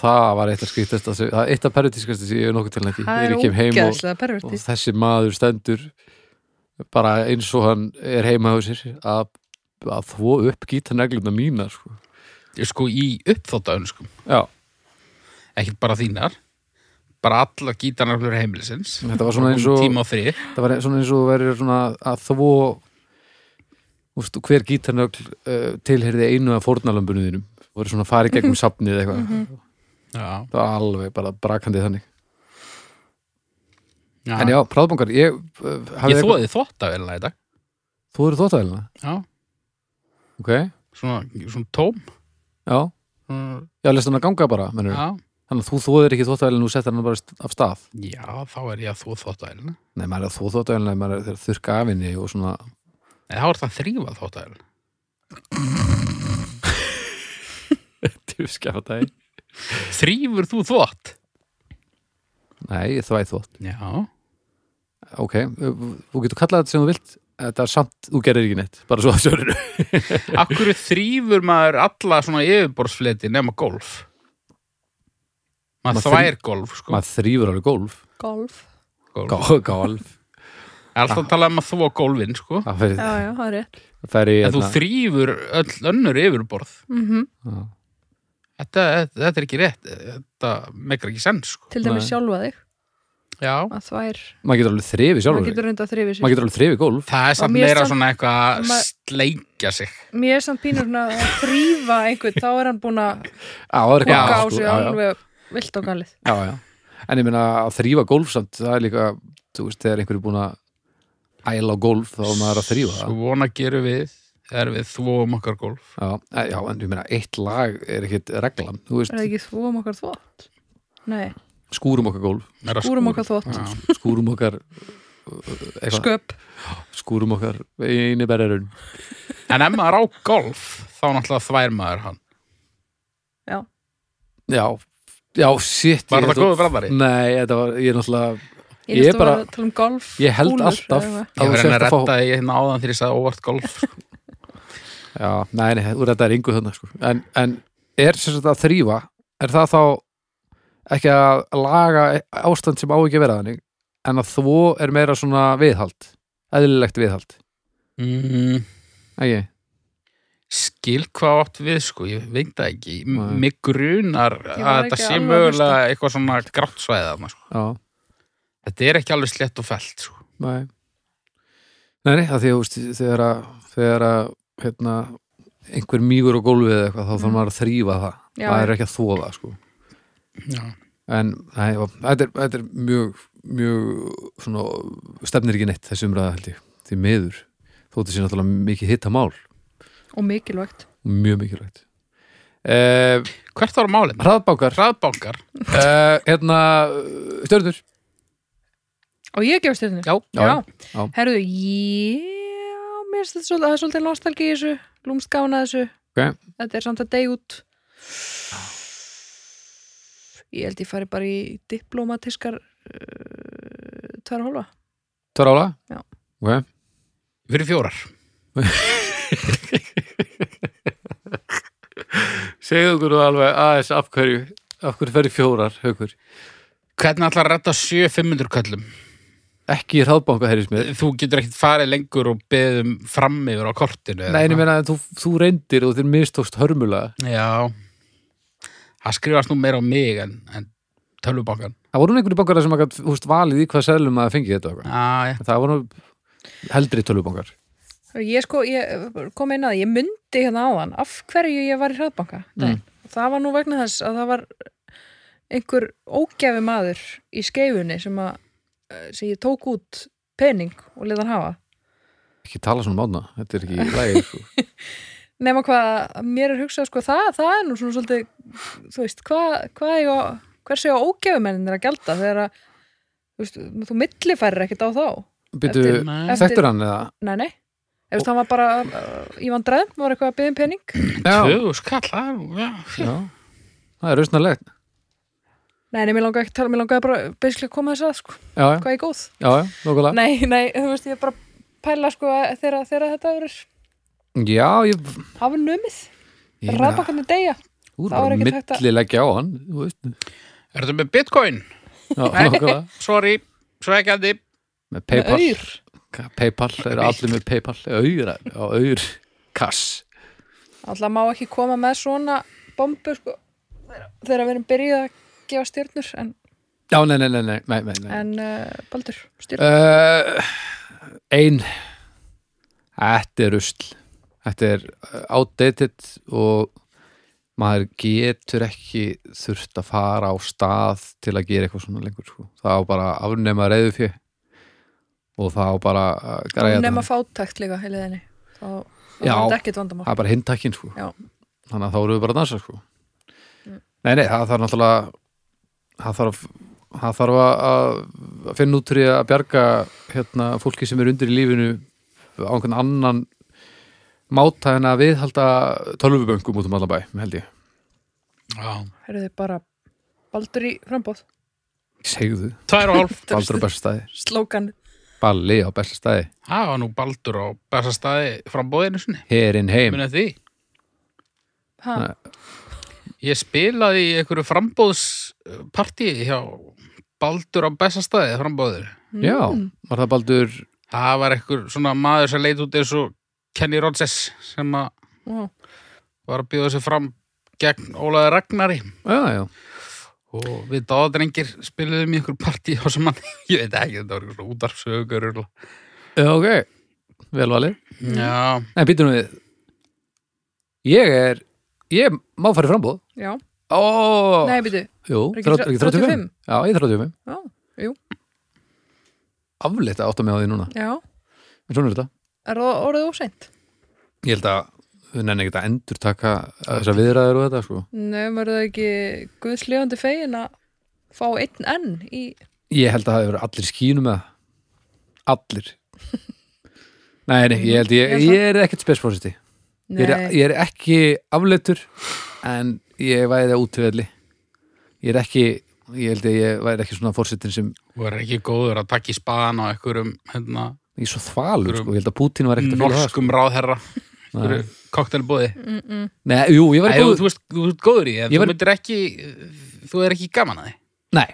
[SPEAKER 1] það var eitt af skrítast það er eitt af pervertískast sem ég er nokkuð til ekki
[SPEAKER 3] það
[SPEAKER 1] þegar
[SPEAKER 3] er
[SPEAKER 1] ég kem heim og,
[SPEAKER 3] ógeðslega
[SPEAKER 1] og
[SPEAKER 3] pervertist
[SPEAKER 1] þessi maður stendur bara eins og hann er heima á sér að, að þvó upp gítarnegluna mína sko.
[SPEAKER 2] sko í uppþóttaun sko.
[SPEAKER 1] já,
[SPEAKER 2] ekkert bara þínar bara allar gítarnarflur heimilisins
[SPEAKER 1] þetta var svona eins og
[SPEAKER 2] tíma og þrið
[SPEAKER 1] það var svona eins og verið svona að þvó úst, hver gítarnögl uh, tilherði einu af fórnalömbunum þínum voru svona farið gegnum safnið eitthvað
[SPEAKER 2] já,
[SPEAKER 1] það var alveg bara brakandi þannig
[SPEAKER 2] já.
[SPEAKER 1] en já, práðbankar, ég uh, hafði
[SPEAKER 2] ég
[SPEAKER 1] eitthvað-
[SPEAKER 2] þóði þóttavélina í dag
[SPEAKER 1] þú eru þóttavælina,
[SPEAKER 2] já,
[SPEAKER 1] ok já,
[SPEAKER 2] svona, svona tóm svona,
[SPEAKER 1] já, lest hann að ganga bara mennur.
[SPEAKER 2] já.
[SPEAKER 1] þannig að þú þóðir ekki þóttavælina og settir hann bara st- af stað
[SPEAKER 2] já, þá er ég að þóð þóttavélina
[SPEAKER 1] Nei, maður er að þó þóttavélina, maður er að þurrka af henni og svona,
[SPEAKER 2] eða þá er það þrýfa þóttavélina
[SPEAKER 1] djúskjáta það í.
[SPEAKER 2] þrýfur þú þótt
[SPEAKER 1] Nei, ég þvæ þótt.
[SPEAKER 2] já,
[SPEAKER 1] Ok, þú getur kallað þetta sem þú vilt, þetta er samt, þú gerir ekki neitt, bara svo að sjörinu.
[SPEAKER 2] akkur þrýfur maður alla svona yfirborðsfleti nema golf maður
[SPEAKER 1] Maður
[SPEAKER 2] þvær golf sko.
[SPEAKER 1] maður þrýfur alveg gólf.
[SPEAKER 3] golf,
[SPEAKER 2] golf.
[SPEAKER 1] Gó- Ah. Gólf.
[SPEAKER 2] er alltaf að tala um að þvó golfin sko.
[SPEAKER 1] Það fer,
[SPEAKER 3] já, já, það er rétt
[SPEAKER 1] fer í,
[SPEAKER 2] en þú
[SPEAKER 1] hérna-
[SPEAKER 2] þrýfur öll önnur yfirborð
[SPEAKER 3] mm
[SPEAKER 1] Já.
[SPEAKER 2] þetta, þetta, þetta er ekki rétt þetta meikar ekki sens sko.
[SPEAKER 3] til dæmis
[SPEAKER 1] Nei.
[SPEAKER 3] sjálfa þig
[SPEAKER 2] já,
[SPEAKER 3] að þvær,
[SPEAKER 1] maður getur alveg þrifið sjálfur.
[SPEAKER 3] maður getur reynda að þrifi
[SPEAKER 1] maður
[SPEAKER 3] sér
[SPEAKER 1] getur alveg þrifið gólf.
[SPEAKER 2] það er samt
[SPEAKER 3] mér
[SPEAKER 2] meira
[SPEAKER 3] samt-
[SPEAKER 2] svona eitthvað að
[SPEAKER 3] ma-
[SPEAKER 2] sleikja sig
[SPEAKER 3] mér er samt pínur að þrýfa einhvern, þá er hann búin að
[SPEAKER 1] Á, það er
[SPEAKER 2] Já,
[SPEAKER 3] baka á
[SPEAKER 1] sko,
[SPEAKER 3] sig
[SPEAKER 1] já, já,
[SPEAKER 3] alveg vilt og galið
[SPEAKER 1] já, já. En ég meina að þrýfa gólf samt, það er líka, þú veist, þegar einhverju búin að æla á gólf, þá er maður að þrýfa það.
[SPEAKER 2] svona gerum við er við þvóum okkar golf
[SPEAKER 1] Já, e- já, en ég meina, eitt lag er ekkit reglan, þú
[SPEAKER 3] er það
[SPEAKER 1] veist,
[SPEAKER 3] ekki þvóum okkar þvótt nei,
[SPEAKER 1] skúrum okkar gólf,
[SPEAKER 2] Meira
[SPEAKER 3] skúrum
[SPEAKER 2] skúr.
[SPEAKER 3] okkar þvótt
[SPEAKER 2] Já.
[SPEAKER 1] skúrum okkar eh, eitthvað,
[SPEAKER 3] sköp,
[SPEAKER 1] skúrum okkar eini berðarun.
[SPEAKER 2] en ef maður á golf þá náttúrulega þvær maður hann
[SPEAKER 3] já,
[SPEAKER 1] Já, já, shit.
[SPEAKER 2] Var
[SPEAKER 1] ég-
[SPEAKER 2] þetta góður brandari?
[SPEAKER 1] Nei, þetta var, ég er náttúrulega,
[SPEAKER 3] ég,
[SPEAKER 1] Ég
[SPEAKER 3] ég
[SPEAKER 1] bara-
[SPEAKER 3] bara að tala um golf
[SPEAKER 1] ég held
[SPEAKER 3] kúlur,
[SPEAKER 1] alltaf
[SPEAKER 3] eða eitthvað.
[SPEAKER 2] ég
[SPEAKER 1] þú
[SPEAKER 2] var
[SPEAKER 1] sért
[SPEAKER 2] henni að
[SPEAKER 1] fá-
[SPEAKER 2] retta ég hérna áðan þegar ég sagði óvart golf sko.
[SPEAKER 1] Já, nei, nei, úr þetta er yngu þarna, sko. En, en er sem sagt að þrýfa, er það þá ekki að laga ástand sem á ekki að vera þannig, en að þvó er meira svona viðhald, eðlilegt viðhald,
[SPEAKER 2] mm,
[SPEAKER 1] ekki?
[SPEAKER 2] skil hvað átt við sko, ég veit það ekki
[SPEAKER 1] Nei.
[SPEAKER 2] mig grunar
[SPEAKER 3] Ég
[SPEAKER 2] að
[SPEAKER 3] var
[SPEAKER 2] þetta
[SPEAKER 3] ekki
[SPEAKER 2] sé
[SPEAKER 3] alveg að
[SPEAKER 2] mögulega eitthvað svona grátt svæðið þarna, sko.
[SPEAKER 1] Já.
[SPEAKER 2] þetta er ekki alveg slett og felt sko.
[SPEAKER 1] Nei, nei, nei það því að þú veist, þegar að, þegar að hérna, einhver mýgur á gólfið eða eitthvað, þá þarf
[SPEAKER 3] Mm.
[SPEAKER 1] maður að þrýfa það
[SPEAKER 3] Já,
[SPEAKER 1] það er
[SPEAKER 3] já.
[SPEAKER 1] ekki að þóða sko.
[SPEAKER 2] já,
[SPEAKER 1] en nei, já, þetta, er, þetta er mjög mjög svona, stefnir ekki neitt þessi umræða held ég, því miður þótti sér náttúrulega mikið hitta mál
[SPEAKER 3] og mikilvægt
[SPEAKER 1] mjög mikilvægt eh,
[SPEAKER 2] hvert var málið?
[SPEAKER 1] hraðbákar
[SPEAKER 2] hraðbankar
[SPEAKER 1] eh, hérna, stjörnur
[SPEAKER 3] og ég gefst þérna
[SPEAKER 2] Já.
[SPEAKER 1] Já, já. Já.
[SPEAKER 3] herruðu, já mér finnst þetta svolítið, það er svolítið nostalgi í þessu lúmst gána þessu
[SPEAKER 1] Ok.
[SPEAKER 3] þetta er samt að deg út ég held ég fari bara í diplomatiskar uh, tvær og hálfa
[SPEAKER 1] tvar ála
[SPEAKER 3] Já.
[SPEAKER 1] okay.
[SPEAKER 2] fyrir fjórar
[SPEAKER 1] segðu okkur nú alveg aðeins af hverju af hverju ferði fjórar, haukur
[SPEAKER 2] hvernig ætlar að retta 7-500 köllum?
[SPEAKER 1] ekki í hraðbanka heyrðis mér
[SPEAKER 2] Þú getur ekkert farið lengur og beðum fram yfir á kortinu eða
[SPEAKER 1] Nei, en ég
[SPEAKER 2] eitthvað.
[SPEAKER 1] meina að þú, þú reyndir og þér mistókst hörmulega
[SPEAKER 2] Já Það skrifast nú meira á mig en, en tölvubankan
[SPEAKER 1] Það voru nú einhverju bankar sem að gat, húst, valið í hvað selum að fengi þetta og eitthvað.
[SPEAKER 2] ah, ja.
[SPEAKER 1] En Það voru nú heldri tölvubankar
[SPEAKER 3] Ég sko, ég kom inn að því, ég myndi hérna áðan af hverju ég var í hraðbanka. Mm. Það var nú vegna þess að það var einhver ógæfi maður í skeifunni sem, að, eh, sem ég tók út pening og lið hann hafa.
[SPEAKER 1] Ekki tala svona mána, þetta er ekki lægir sko.
[SPEAKER 3] Nefna hvað, að mér er hugsað sko, það, það er nú svona svolítið, þú veist, hvað, hvað ég á, hversu ég á ógæfumennir að gjalda þegar að, þú veist, þú millifærir ekkert á þá.
[SPEAKER 1] Býtu,
[SPEAKER 3] Eftir-
[SPEAKER 2] Nei.
[SPEAKER 3] eftir-
[SPEAKER 1] þekktur hann eða?
[SPEAKER 3] Nei, nei. Ef það var bara, uh, ég var dræðum, var eitthvað að byggja um pening.
[SPEAKER 1] Já,
[SPEAKER 2] Tvö skall það er nú- já.
[SPEAKER 1] já. Það er rausnarlegt
[SPEAKER 3] Nei, nei, mér langaði ekki að tala, mér langaði bara basically að koma þess að, sko,
[SPEAKER 1] Já, já,
[SPEAKER 3] hvað ég er góð
[SPEAKER 1] já, já, nokkulega
[SPEAKER 3] Nei, nei, þú veist, ég er bara að pæla, sko, að þegar, þegar þetta verður
[SPEAKER 1] Já, ég,
[SPEAKER 3] hafa numið,
[SPEAKER 1] ég meina,
[SPEAKER 3] rafbakkandi deyja
[SPEAKER 1] þú Þú er
[SPEAKER 3] Þá er
[SPEAKER 1] bara
[SPEAKER 3] ekkert hægt að-
[SPEAKER 1] millilegja á hann, þú veist.
[SPEAKER 2] Er þetta með bitcoin?
[SPEAKER 1] Já, nákvæmlega.
[SPEAKER 2] Sorry, svekkjandi
[SPEAKER 1] Með Paypal.
[SPEAKER 3] Aur.
[SPEAKER 1] Ka- Paypal, eru allir með Paypal. Auður, á auður. Kass.
[SPEAKER 3] Alltaf má ekki koma með svona bombu sko þegar- þegar við erum byrjuð að gefa stjörnur en,
[SPEAKER 1] Já, nei, nei, nei, nei, nei, nei. nei.
[SPEAKER 3] en uh, Baldur, stjörnur
[SPEAKER 1] Uh, ein. Þetta er rusl. Þetta er uh, outdated og maður getur ekki þurft að fara á stað til að gera eitthvað svona lengur, sko. Það á bara að afnema reyðu fjö og það á bara að græja
[SPEAKER 3] nema fátækt líka í leðinni þá þá
[SPEAKER 1] Já.
[SPEAKER 3] er þetta ekkert vandamál
[SPEAKER 1] það er bara hindtakkin sko
[SPEAKER 3] Já.
[SPEAKER 1] þannig að þá eru við bara að dansa sko nei, nei, það þarf náttúrulega það þarf, það þarf að- að finna út úr því að bjarga hérna, fólki sem er undir í lífinu á einhvern annan máta en að viðhalda tölvuböngum út um allabæ, held ég
[SPEAKER 2] Já.
[SPEAKER 3] eru þið bara Baldur í frambóð
[SPEAKER 1] segðu,
[SPEAKER 2] Tvær og hálf
[SPEAKER 1] baldur á besta staði
[SPEAKER 3] slókan
[SPEAKER 1] balli á besta staði,
[SPEAKER 2] [laughs] Það var nú Baldur á besta staði frambóðinu sinni
[SPEAKER 1] herin heim
[SPEAKER 2] Muna því
[SPEAKER 3] ha,
[SPEAKER 1] Nei.
[SPEAKER 2] Ég spilaði í einhverju frambóðsparti hjá Baldur á besta staði frambóðinu
[SPEAKER 3] Hm?
[SPEAKER 1] já, var það baldur
[SPEAKER 2] Það var einhver svona maður sem leit út eins og Kenny Rogers sem að
[SPEAKER 3] ó,
[SPEAKER 2] var að bjóða sig fram gegn Ólaði Ragnari
[SPEAKER 1] já, já,
[SPEAKER 2] og við dáðadrengir spiluðum í einhver partí á sem mann, [laughs] ég veit ekki, þetta var einhver svona útarfsögur
[SPEAKER 1] já, ok vel valið
[SPEAKER 2] Já,
[SPEAKER 1] Nei, býtum við Ég er Ég má farið frambúð
[SPEAKER 3] já,
[SPEAKER 1] Ó,
[SPEAKER 3] nei, byrju
[SPEAKER 1] jú,
[SPEAKER 3] er ekki
[SPEAKER 1] þrjá-
[SPEAKER 3] þrjá-
[SPEAKER 1] ekki 35
[SPEAKER 3] 35?
[SPEAKER 1] Já, ég er 35
[SPEAKER 3] já, jú,
[SPEAKER 1] Afleitt að átta mig á því núna
[SPEAKER 3] já,
[SPEAKER 1] En svona er þetta
[SPEAKER 3] er það orðið óseint
[SPEAKER 1] Ég held að við nenni ekki að endur taka þessar viðræður og þetta sko.
[SPEAKER 3] nefnum er það ekki guðslefandi fegin að fá einn enn í
[SPEAKER 1] Ég held að það hefur allir skínum með það
[SPEAKER 3] [laughs]
[SPEAKER 1] Allir Nei, nei, ég held ég,
[SPEAKER 3] Ég held
[SPEAKER 1] ég er ekkert spesforsiti ég, er-
[SPEAKER 3] nei,
[SPEAKER 1] ég er ekki afleittur En ég væri útvelli Ég er ekki Ég held að ég væri ekki svona forsetin sem
[SPEAKER 2] og er ekki góður að taka í spaðan á einhverjum hérna,
[SPEAKER 1] Ég er svo þvalur,
[SPEAKER 2] Einhverjum
[SPEAKER 1] sko, ég held að Putin var ekkert að fíla það, sko.
[SPEAKER 2] norskum
[SPEAKER 1] [laughs]
[SPEAKER 2] ráðherra
[SPEAKER 1] Nei.
[SPEAKER 2] einhverju koktelbóði
[SPEAKER 1] Nei, jú, ég var
[SPEAKER 2] Æ,
[SPEAKER 1] ekki
[SPEAKER 2] þú,
[SPEAKER 1] góð
[SPEAKER 2] þú veist, þú ert góður í, því, en
[SPEAKER 1] Ég
[SPEAKER 2] þú
[SPEAKER 1] var-
[SPEAKER 2] myndir ekki þú er ekki gaman að því
[SPEAKER 1] Nei,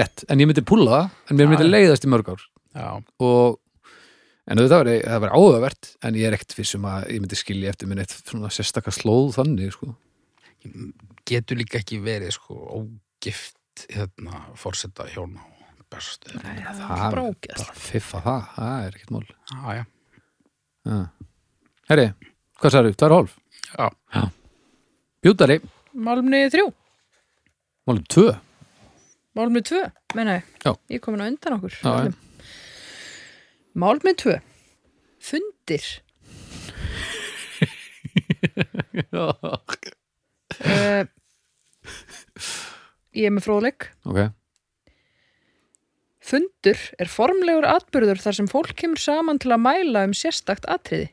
[SPEAKER 1] rétt, en ég myndi púla það en mér
[SPEAKER 2] Já,
[SPEAKER 1] myndi
[SPEAKER 2] já.
[SPEAKER 1] leiðast í mörg ár
[SPEAKER 2] Já,
[SPEAKER 1] og, en auðvitað var, það var áhugavert en ég er ekkert vissum að ég myndi skilja eftir minn eitt svona sérstaka slóð þannig, sko
[SPEAKER 2] getur líka ekki verið sko ógift hérna, forseta hjóna og bestu
[SPEAKER 3] nei, það
[SPEAKER 1] það
[SPEAKER 3] er
[SPEAKER 1] er
[SPEAKER 3] brákjast
[SPEAKER 1] bara fiffa það, það er ekkert mál
[SPEAKER 2] Já, já,
[SPEAKER 1] ja. Herri, hvað sagði, það er hálf
[SPEAKER 2] já
[SPEAKER 1] Bjúdari,
[SPEAKER 3] Málumni þrjú,
[SPEAKER 1] málum tvö
[SPEAKER 3] málumni tvö, menna ég.
[SPEAKER 1] Já.
[SPEAKER 3] Ég er komin á undan okkur.
[SPEAKER 1] Já,
[SPEAKER 3] öllum. Málumni tvö, fundir.
[SPEAKER 1] [laughs] ok,
[SPEAKER 3] Uh, ég er með fróðleik. Fundur er formlegur atbyrður þar sem fólk kemur saman til að mæla um sérstakt atriði.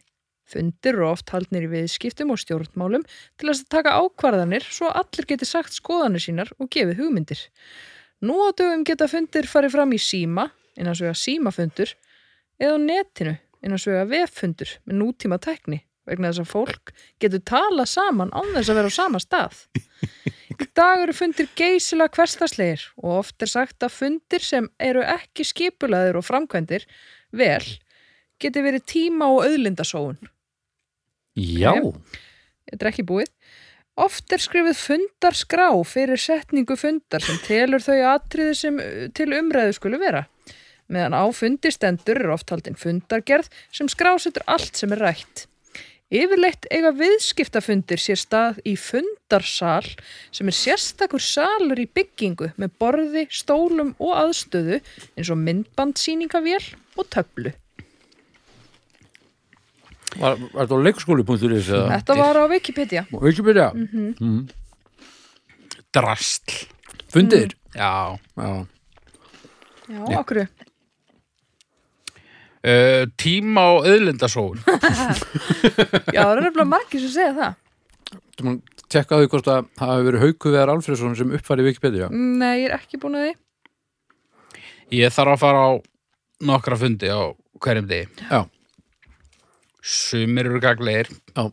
[SPEAKER 3] Fundir eru oft haldnir í viðskiptum og stjórnmálum til þess að taka ákvarðanir svo allir geti sagt skoðanir sínar og gefið hugmyndir. Nú á dögum geta fundir farið fram í síma, innans vega símafundur, eða á netinu, innans vega veffundur með nútíma tekni vegna þess að fólk getur tala saman án þess að vera á sama stað. Í dag eru fundir geysilega hverstaslegir og oft er sagt að fundir sem eru ekki skipulaðir og framkvæmdir vel geti verið tíma og auðlindasóun.
[SPEAKER 1] já
[SPEAKER 3] Þetta er ekki búið. Oft er skrifið fundarskrá fyrir setningu fundar sem telur þau atriði sem uh, til umræðu skulu vera. Meðan á fundi stendur er oft haldin fundargerð sem skrásetur allt sem er rætt. Yfirleitt eiga viðskiptafundir sér stað í fundarsal sem er sérstakur salur í byggingu með borði, stólum og aðstöðu eins og myndbandsýningavél og töflu.
[SPEAKER 1] Var, var þetta á leikskóli.is eða?
[SPEAKER 3] Þetta var á Wikipedia.
[SPEAKER 1] Ekki byrja,
[SPEAKER 2] Drastl
[SPEAKER 1] fundir
[SPEAKER 2] Já,
[SPEAKER 1] Já,
[SPEAKER 3] Já, okkur.
[SPEAKER 2] uh, tíma og auðlindasóun
[SPEAKER 3] Já, það eru nefnilega margir sem segja það.
[SPEAKER 1] þú mann tekka á því hvort að það hefur verið hauku veðar Alfredsson sem uppfæri Wikipedia
[SPEAKER 3] Nei, ég er ekki búin að því.
[SPEAKER 2] Ég þarf að fara á nokkra fundi á hverjum degi
[SPEAKER 1] Já,
[SPEAKER 2] Sumir eru gaglegir
[SPEAKER 1] Já.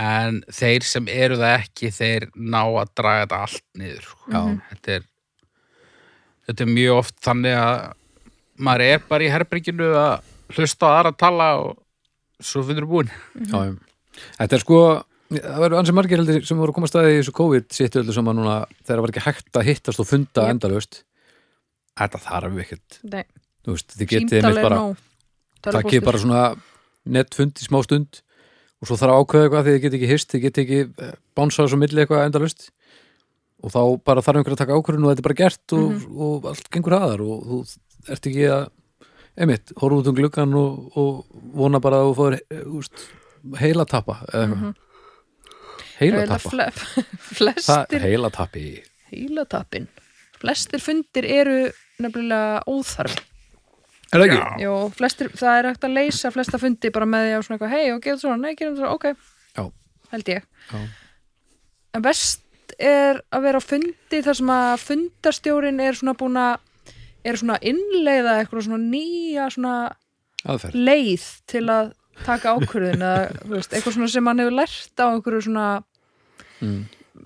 [SPEAKER 2] en þeir sem eru það ekki þeir ná að draga þetta allt niður sko.
[SPEAKER 1] Já.
[SPEAKER 2] þetta, er, þetta er mjög oft þannig að maður er bara í herbyrginu að hlusta á aðra að tala og svo finnur við búin
[SPEAKER 3] Mhm.
[SPEAKER 1] já, já. Þetta er sko, það verður ansið margir heldur sem voru að koma að staði í þessu COVID sittu heldur sem að núna þegar var ekki hægt að hittast og funda
[SPEAKER 3] Jep.
[SPEAKER 1] endalaust Þetta þarf ekkert,
[SPEAKER 3] Nei,
[SPEAKER 1] þú veist, þið getið
[SPEAKER 3] símtal
[SPEAKER 1] mitt
[SPEAKER 3] er
[SPEAKER 1] bara,
[SPEAKER 3] nóg
[SPEAKER 1] takkið bara svona nettfund í smá stund og svo þarf að ákveða eitthvað því þið getið ekki hist, þið getið ekki eh, bánsað svo milli eitthvað endalaust og þá bara þarf einhver að taka ákvörðun og þetta er bara gert og,
[SPEAKER 3] Mhm.
[SPEAKER 1] og allt gengur aðar og þú ert ekki að einmitt, horfa út um gluggan og, og vona bara að þú fóður heila tappa mm
[SPEAKER 3] Mhm.
[SPEAKER 1] -hmm. heila
[SPEAKER 3] Heila
[SPEAKER 1] tappa
[SPEAKER 3] fle [laughs]
[SPEAKER 1] Það,
[SPEAKER 3] flestir
[SPEAKER 1] heila tappi
[SPEAKER 3] heila tappin flestir fundir eru nefnilega óþarfi
[SPEAKER 1] Er það ekki?
[SPEAKER 2] Já.
[SPEAKER 3] Jó, flestir, það er hægt að leysa flesta fundi bara með því að svona eitthvað, hei og gerum svona, nei, gerum svona, ok,
[SPEAKER 1] Já,
[SPEAKER 3] held ég
[SPEAKER 1] já,
[SPEAKER 3] en best er að vera á fundi þar sem að fundarstjórin er svona búin að er svona að innleiða eitthvað svona nýja svona
[SPEAKER 1] aðferð
[SPEAKER 3] leið til að taka ákvörðin eða
[SPEAKER 1] [laughs]
[SPEAKER 3] þú veist, eitthvað svona sem hann hefur lært á einhverju svona
[SPEAKER 1] Mm.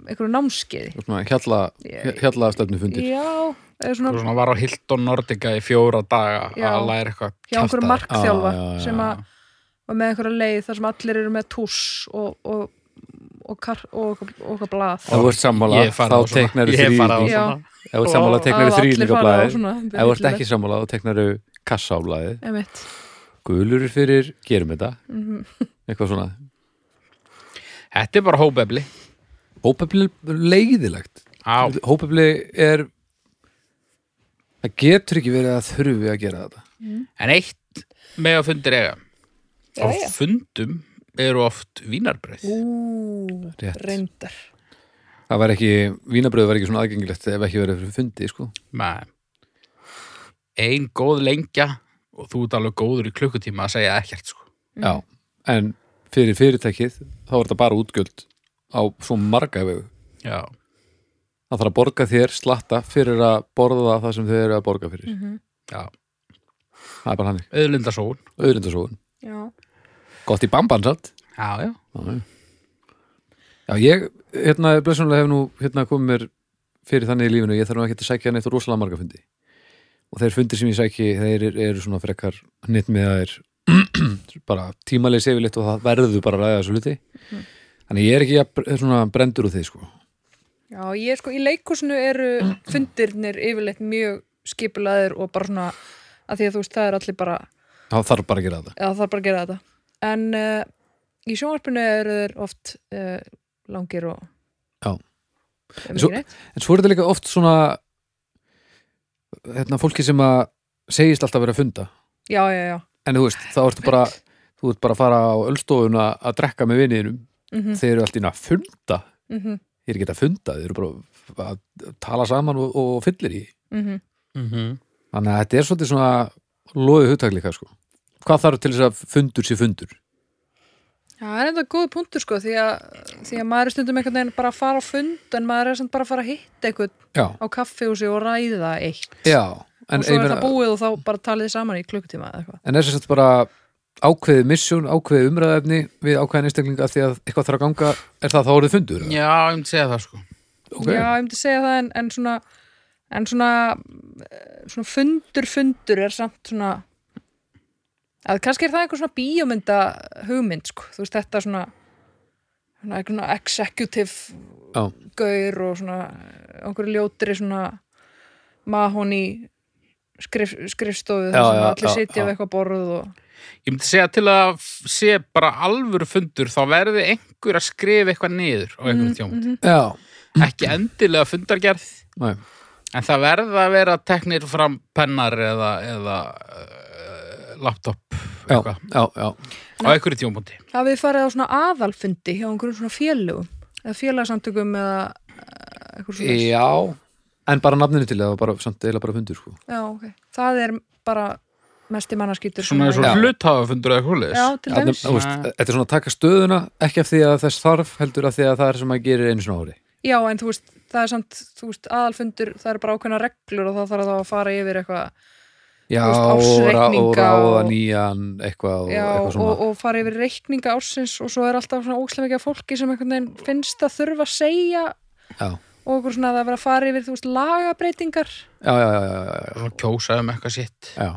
[SPEAKER 3] einhverju námskeiði
[SPEAKER 1] Og svona Hjalla,
[SPEAKER 3] Ég-
[SPEAKER 1] hjalla fundir
[SPEAKER 3] Já, eða
[SPEAKER 2] og
[SPEAKER 3] svona
[SPEAKER 2] svona var á Hilton Nordica í fjóra daga
[SPEAKER 3] Já.
[SPEAKER 2] að læra eitthvað
[SPEAKER 3] hjá
[SPEAKER 2] kjaftaði.
[SPEAKER 3] einhverju markþjálfa
[SPEAKER 1] Já, já, já,
[SPEAKER 3] sem að var með einhverja leið þar sem allir eru með túss og, og, og, kar, og, og, og, og blað
[SPEAKER 1] Ef þú ert sammála,
[SPEAKER 2] Ég hef
[SPEAKER 1] þá
[SPEAKER 2] farið á svona.
[SPEAKER 1] teiknarðu
[SPEAKER 2] Ég hef
[SPEAKER 1] þrír
[SPEAKER 2] farið á
[SPEAKER 1] í-
[SPEAKER 3] Já.
[SPEAKER 2] svona.
[SPEAKER 1] Ef þú ert sammála
[SPEAKER 3] Það
[SPEAKER 1] teknar
[SPEAKER 3] hafa
[SPEAKER 1] þú þrýn
[SPEAKER 3] allir
[SPEAKER 1] ykkur
[SPEAKER 3] farið á
[SPEAKER 1] blæðir
[SPEAKER 3] svona,
[SPEAKER 1] Ef þú ert ekki sammála þá teknar þú kassa á blæði
[SPEAKER 3] Einmitt.
[SPEAKER 1] Gulur er fyrir, gerum þetta
[SPEAKER 3] Mhm.
[SPEAKER 1] Eitthvað svona
[SPEAKER 2] Þetta er bara hópefli
[SPEAKER 1] Hópefli er leiðilegt
[SPEAKER 2] Á,
[SPEAKER 1] Hópefli er Það getur ekki verið að þurfi að gera þetta
[SPEAKER 2] en eitt með að fundir eiga á
[SPEAKER 3] Jæja.
[SPEAKER 2] fundum eru oft vínarbröð
[SPEAKER 3] Ú,
[SPEAKER 1] Rétt.
[SPEAKER 3] reyndar
[SPEAKER 1] Það var ekki, vínabröðu var ekki svona aðgengilegt ef ekki verið fyrir fundi, sko
[SPEAKER 2] með ein góð lengja og þú ert alveg góður í klukkutíma að segja ekkert sko.
[SPEAKER 3] Mm.
[SPEAKER 1] Já, en fyrir fyrirtækið þá er þetta bara útgjöld á svo marga vegu
[SPEAKER 2] Já.
[SPEAKER 1] Það þarf að borga þér slatta fyrir að borða það sem þau eru að borga fyrir
[SPEAKER 3] Mhm.
[SPEAKER 2] Já.
[SPEAKER 1] Það er bara hannig,
[SPEAKER 2] Öðlindasón
[SPEAKER 1] auðrindasóðun
[SPEAKER 3] Já,
[SPEAKER 1] Gott í bamban samt
[SPEAKER 2] Já, já.
[SPEAKER 1] Já, já. já ég, hérna, blessunlega hef nú hérna komið mér fyrir þannig í lífinu ég þarf nú ekki að sækja neitt og rosalega marga fundi og þeir fundir sem ég sæki þeir eru, eru svona frekar nýtt með að er [clears throat] bara tímalegi sefilitt og það verður bara að ræða þessu hluti þannig ég er ekki að, er svona brendur úr því sko
[SPEAKER 3] já, ég er sko í leikhúsinu eru fundirnir yfirleitt mjög skipulaðir og bara svona að því að þú veist það er allir bara
[SPEAKER 1] það þarf bara að gera þetta
[SPEAKER 3] eða það er bara að gera þetta en uh, í sjónvarpinu eru þeir oft uh, langir og
[SPEAKER 1] Já.
[SPEAKER 3] Ef
[SPEAKER 1] Svo-
[SPEAKER 3] ekki neitt.
[SPEAKER 1] en svo er þetta líka oft svona hérna fólki sem að segist alltaf verið að funda
[SPEAKER 3] já, já, já
[SPEAKER 1] en þú veist, þá ertu bara þú ert bara að fara á öllstofuna að drekka með viniðinum
[SPEAKER 3] mm -hmm,
[SPEAKER 1] þeir eru allt í einu að funda
[SPEAKER 3] mhm,
[SPEAKER 1] þeir eru ekki að funda, þeir eru bara að tala saman og, og fyllir í
[SPEAKER 3] mhm.
[SPEAKER 2] Mhm.
[SPEAKER 1] þannig að þetta er svolítið svona loðið hugtak líka sko hvað þarf til þess að fundur sé fundur
[SPEAKER 3] Já, það er enda góð punktur sko því að, því að maður er stundum einhvern veginn bara að fara á fund en maður er samt bara að fara að hitta einhvern
[SPEAKER 1] já,
[SPEAKER 3] á kaffihúsi og ræða eitt
[SPEAKER 1] já
[SPEAKER 3] og
[SPEAKER 1] en,
[SPEAKER 3] svo
[SPEAKER 1] ég
[SPEAKER 3] er
[SPEAKER 1] meina-
[SPEAKER 3] það búið og þá bara talið þið saman í klukkutíma eða eitthvað.
[SPEAKER 1] en er þess að bara ákveðið misjón, ákveðið umræðefni við ákveðin einstaklinga því að eitthvað þarf að ganga er það þá orðið fundur? eða?
[SPEAKER 2] Já, ég myndi segja það sko.
[SPEAKER 1] Ok.
[SPEAKER 3] Já, ég myndi segja það en, en svona en svona, eh, svona fundur fundur er samt svona að kannski er það einhver svona bíómynda hugmynd sko, þú veist þetta svona svona einhver svona executive
[SPEAKER 1] Já.
[SPEAKER 3] gaur og svona einhverju ljótri svona mahóni skrif, skrifstofu
[SPEAKER 1] Já,
[SPEAKER 3] þar sem
[SPEAKER 1] já,
[SPEAKER 3] allir
[SPEAKER 1] já,
[SPEAKER 3] sitja
[SPEAKER 1] já.
[SPEAKER 3] við eitthvað borð og
[SPEAKER 2] Ég myndi segja til að f- sé bara alvöru fundur þá verði einhver að skrifa eitthvað niður á einhverjum tjómum.
[SPEAKER 1] Já,
[SPEAKER 2] Ekki endilega fundargerð
[SPEAKER 1] næ,
[SPEAKER 2] en það verða að vera teknir fram pennar eða, eða uh, laptop
[SPEAKER 1] já,
[SPEAKER 2] eitthvað,
[SPEAKER 1] já, já
[SPEAKER 2] á einhverju tjómbúndi.
[SPEAKER 3] hafið þið farið á svona aðalfundi hjá einhverjum svona félugum eða félagsamtökum eða eh, einhverjum svona
[SPEAKER 1] Já, en bara nafninu til það var bara, samt eila bara fundur sko
[SPEAKER 3] Já, ok. Það er bara mesti mannaskýtur.
[SPEAKER 2] Svona eins og
[SPEAKER 1] Já.
[SPEAKER 2] hluthafafundur eða húlis.
[SPEAKER 3] Já, til
[SPEAKER 1] Þarna-
[SPEAKER 3] dæmis.
[SPEAKER 1] þú veist, Þetta er svona að taka stöðuna ekki af því að þess þarf heldur af því að það er sem maður gerir einu svona ári
[SPEAKER 3] Já, en þú veist, það er samt, þú veist, aðalfundur, það er bara ákveðna reglur og þá þarf það að fara yfir eitthvað
[SPEAKER 1] já, og
[SPEAKER 3] veist,
[SPEAKER 1] rá- og
[SPEAKER 3] ársreikninga
[SPEAKER 1] ráða
[SPEAKER 3] og-
[SPEAKER 1] nýjan eitthvað og
[SPEAKER 3] Já,
[SPEAKER 1] eitthvað
[SPEAKER 3] og,
[SPEAKER 1] svona
[SPEAKER 3] og fara yfir reikninga ársins og svo er alltaf svona ókslega mikið af fólki sem einhvern veginn finnst að þurfa að segja
[SPEAKER 1] já,
[SPEAKER 3] og okkur svona að það vera að fara yfir þú veist lagabreitingar
[SPEAKER 1] já, já, já, já, já, já,
[SPEAKER 2] Svona kjósa um eitthvað sitt
[SPEAKER 1] já.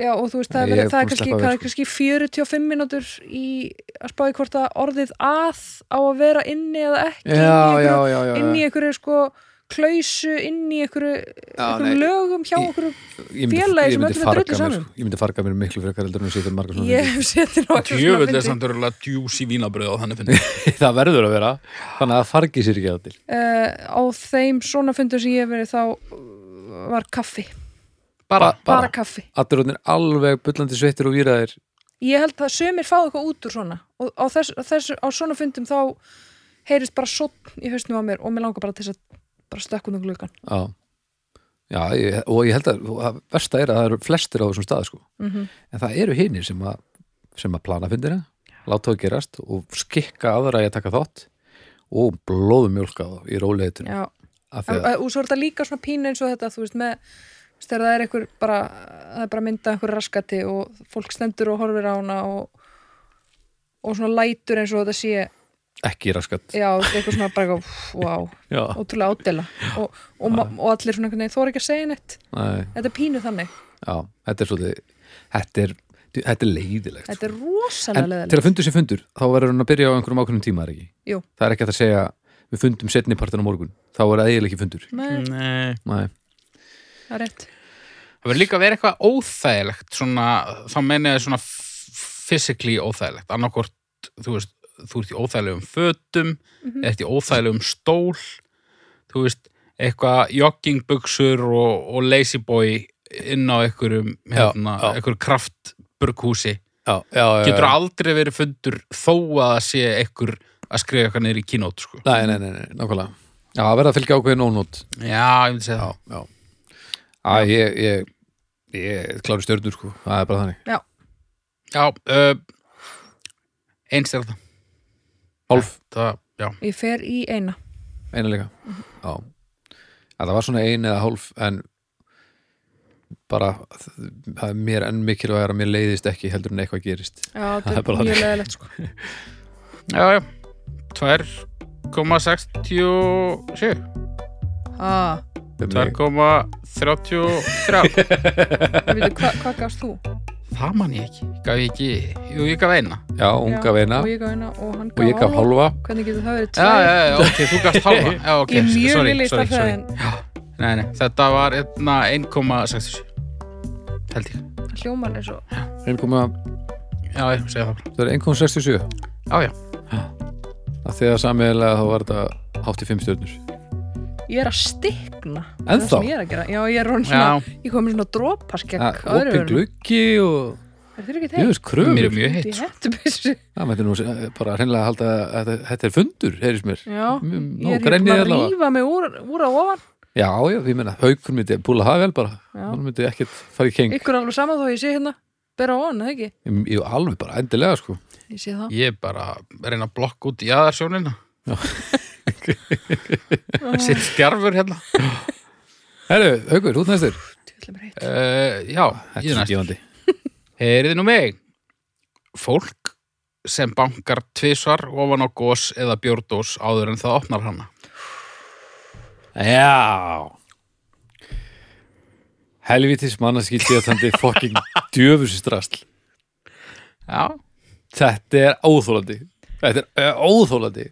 [SPEAKER 3] Já, og þú veist, það,
[SPEAKER 1] Ég
[SPEAKER 3] er verið,
[SPEAKER 1] er
[SPEAKER 3] það er
[SPEAKER 1] búin að
[SPEAKER 3] kannski,
[SPEAKER 1] sleppa við,
[SPEAKER 3] það er kannski 45 mínútur í að spáði hvort að orðið að á að vera inni eða ekki
[SPEAKER 1] Já,
[SPEAKER 3] inni í
[SPEAKER 1] já,
[SPEAKER 3] einhverju-
[SPEAKER 1] já, já,
[SPEAKER 3] inni í
[SPEAKER 1] já.
[SPEAKER 3] einhverju sko klausu, inni í einhverju, einhverju
[SPEAKER 1] nei.
[SPEAKER 3] lögum hjá
[SPEAKER 1] Í-
[SPEAKER 3] okkur
[SPEAKER 1] Ég myndi-
[SPEAKER 3] félagi
[SPEAKER 1] ég
[SPEAKER 3] sem
[SPEAKER 1] myndi
[SPEAKER 3] öllum er
[SPEAKER 1] farga
[SPEAKER 3] drullu
[SPEAKER 1] mér,
[SPEAKER 3] saman.
[SPEAKER 1] sko. Ég myndi farga mér miklu frekar heldur en að setja margar svona
[SPEAKER 3] ég hef setið nokkuð
[SPEAKER 2] Djöfull er samt örugglega djús í vínabröð á þannig fyndi
[SPEAKER 1] hluti. [laughs] Það verður að vera, þannig að það fargi sér ekki að til
[SPEAKER 3] uh, á þeim svona fundur sem ég hef verið þá uh, var kaffi,
[SPEAKER 2] Bara,
[SPEAKER 1] Bara.
[SPEAKER 3] bara kaffi
[SPEAKER 1] Allir rótnir alveg bullandi sveittir og výraðir
[SPEAKER 3] ég held að sömur fáðu eitthvað út úr svona og á, þess, á, þess, á svona fundum þá heyrist bara sotn í hausnum á mér og mér langar bara til þess að bara stökkum um gluggan
[SPEAKER 1] Já, já ég, og ég held að og það versta er að það eru flestir á þessum stað sko.
[SPEAKER 3] Mhm.
[SPEAKER 1] en það eru hinir sem að sem að plana fyndina, láta það gerast og skikka aðra í að taka þátt og blóðumjólka þá í róleitinu
[SPEAKER 3] Já,
[SPEAKER 1] af því
[SPEAKER 3] og,
[SPEAKER 1] að,
[SPEAKER 3] og svo er þetta líka svona pínu eins og þetta, þú veist, með þú veist, þegar það er einhver bara, það er bara myndað einhver raskati og fólk stendur og horfir á hana og, og svona lætur eins og þetta sé,
[SPEAKER 1] ekki raskat
[SPEAKER 3] já, þú veist, eitthvað svona bara eitthvað, pff, vá,
[SPEAKER 1] Já,
[SPEAKER 3] ótrúlega ádela og,
[SPEAKER 1] Ah.
[SPEAKER 3] og, ma- og allir svona einhvern veginn, þóra ekki að segja neitt
[SPEAKER 1] nei,
[SPEAKER 3] þetta er pínu þannig,
[SPEAKER 1] já þetta er svolítið þetta er, þetta er leiðilegt sko.
[SPEAKER 3] þetta er
[SPEAKER 1] en
[SPEAKER 3] rosalega
[SPEAKER 1] til
[SPEAKER 3] leðileg
[SPEAKER 1] að fundur sem fundur, þá verður hann að byrja á einhverjum ákveðnum tíma, er ekki?
[SPEAKER 3] Jú.
[SPEAKER 1] Það er ekki hægt að segja, við fundum setni partin á morgun þá er það eiginlega ekki fundur
[SPEAKER 3] Nei,
[SPEAKER 2] Nei
[SPEAKER 1] Nei.
[SPEAKER 3] það er rétt
[SPEAKER 2] Það verður líka að vera eitthvað óþægilegt svona, þá meni ég svona f- physically óþægilegt, annarkvort þú veist, þú ert í óþægilegum fötum eða ert í óþægilegum stól þú veist, eitthvað joggingbuxur og, og lazyboy inn á einhverjum hérna,
[SPEAKER 1] já.
[SPEAKER 2] einhverjum kraftburghúsi
[SPEAKER 1] Já, já, já,
[SPEAKER 2] getur aldrei verið fundur þó að það sé einhver að skrifa eitthvað niður í kínót sko.
[SPEAKER 1] Nei, nei, nei, nei nákvæmlega Já, það verða að fylgja ákveðin ónót
[SPEAKER 2] Já, ég myndi segja það
[SPEAKER 1] já Æ, ég, ég, ég klári stjörnur sko Það er bara þannig
[SPEAKER 3] Já,
[SPEAKER 2] Já, uh, eins er það
[SPEAKER 1] Hálf,
[SPEAKER 2] það, já,
[SPEAKER 3] ég fer í eina
[SPEAKER 1] eina líka Já að Það var svona ein eða hálf en bara það er mér enn mikilvægur að mér leiðist ekki heldur en eitthvað gerist
[SPEAKER 3] Já,
[SPEAKER 1] Það er
[SPEAKER 3] þetta
[SPEAKER 1] bara
[SPEAKER 3] er mjög
[SPEAKER 1] þannig.
[SPEAKER 3] leðilegt sko
[SPEAKER 2] Já, já, 2,67
[SPEAKER 3] ah,
[SPEAKER 1] Fyrir mig- [laughs]
[SPEAKER 2] 2,33
[SPEAKER 3] veitu, hva, Hvað gafst þú?
[SPEAKER 2] Það man ég ekki, gaf ég ekki Jú, ég gaf eina
[SPEAKER 1] Já, hún
[SPEAKER 3] Já,
[SPEAKER 1] gaf eina
[SPEAKER 3] Og ég gaf eina og hann
[SPEAKER 1] og ég gaf hálfa
[SPEAKER 3] Hvernig getur það verið
[SPEAKER 2] Já,
[SPEAKER 3] tvær?
[SPEAKER 2] já, já, ok, þú gafst hálfa já, okay,
[SPEAKER 3] Ég er mjög
[SPEAKER 2] sorry,
[SPEAKER 3] vilja í
[SPEAKER 2] sorry, sorry.
[SPEAKER 3] stærðfræðin
[SPEAKER 2] Nei, nei, þetta var hérna 1,67 Held ég
[SPEAKER 3] Hljóman er svo
[SPEAKER 1] 1,-
[SPEAKER 2] Já, ég segi það bara.
[SPEAKER 1] það er 1,67
[SPEAKER 2] Já, já,
[SPEAKER 1] að þegar samiðilega þá var þetta hátt í 5 stjörnur
[SPEAKER 3] Ég er að stikna
[SPEAKER 1] Ennþá?
[SPEAKER 3] Það sem ég er að gera Já, ég er orðin
[SPEAKER 2] Já. Ah,
[SPEAKER 3] svona Ég kom með svona dropaskekk á öðru
[SPEAKER 1] Opin
[SPEAKER 3] vörunum.
[SPEAKER 1] gluggi og
[SPEAKER 3] Er þér
[SPEAKER 1] ég
[SPEAKER 3] ekki þeir?
[SPEAKER 1] veist kröfur
[SPEAKER 2] mér er mjög heitt
[SPEAKER 3] Í hettubissu
[SPEAKER 2] [laughs]
[SPEAKER 1] Það mætti nú eh, bara hreinlega að halda að þetta- þetta er fundur, heyrðis mér.
[SPEAKER 3] Já
[SPEAKER 1] Mm,
[SPEAKER 3] Ég er
[SPEAKER 1] Nó, grennið er
[SPEAKER 3] hérna að
[SPEAKER 1] alveg.
[SPEAKER 3] rífa mig úr, úr á ofan
[SPEAKER 1] Já, já, ég meina, haukur myndi búla hafa vel bara.
[SPEAKER 3] Já.
[SPEAKER 1] Hann myndi ekkert fara í keng.
[SPEAKER 3] Ykkur er alveg sama þó ég sé hérna Bera á hann, eða ekki?
[SPEAKER 1] Ég ég- alveg bara, endilega sko.
[SPEAKER 3] Ég sé það
[SPEAKER 2] Ég er bara að reyna að blokka út jaðarsjónina Sitt stjarfur hérna
[SPEAKER 1] Herru, haukur, út næstur.
[SPEAKER 3] Djöfull er mér heitt.
[SPEAKER 2] uh, Já,
[SPEAKER 1] Þetta
[SPEAKER 2] ég
[SPEAKER 1] er
[SPEAKER 2] er
[SPEAKER 1] svo
[SPEAKER 2] næst
[SPEAKER 1] gefandi.
[SPEAKER 2] Heyriði nú mig Fólk sem bankar tvisvar ofan á gós eða bjórdós áður en það opnar hana
[SPEAKER 1] Já. Helvitis mannarskilt ég að þannig fokking djöfusistrasl.
[SPEAKER 2] Já,
[SPEAKER 1] Þetta er óþólandi. Þetta er eh, óþólandi.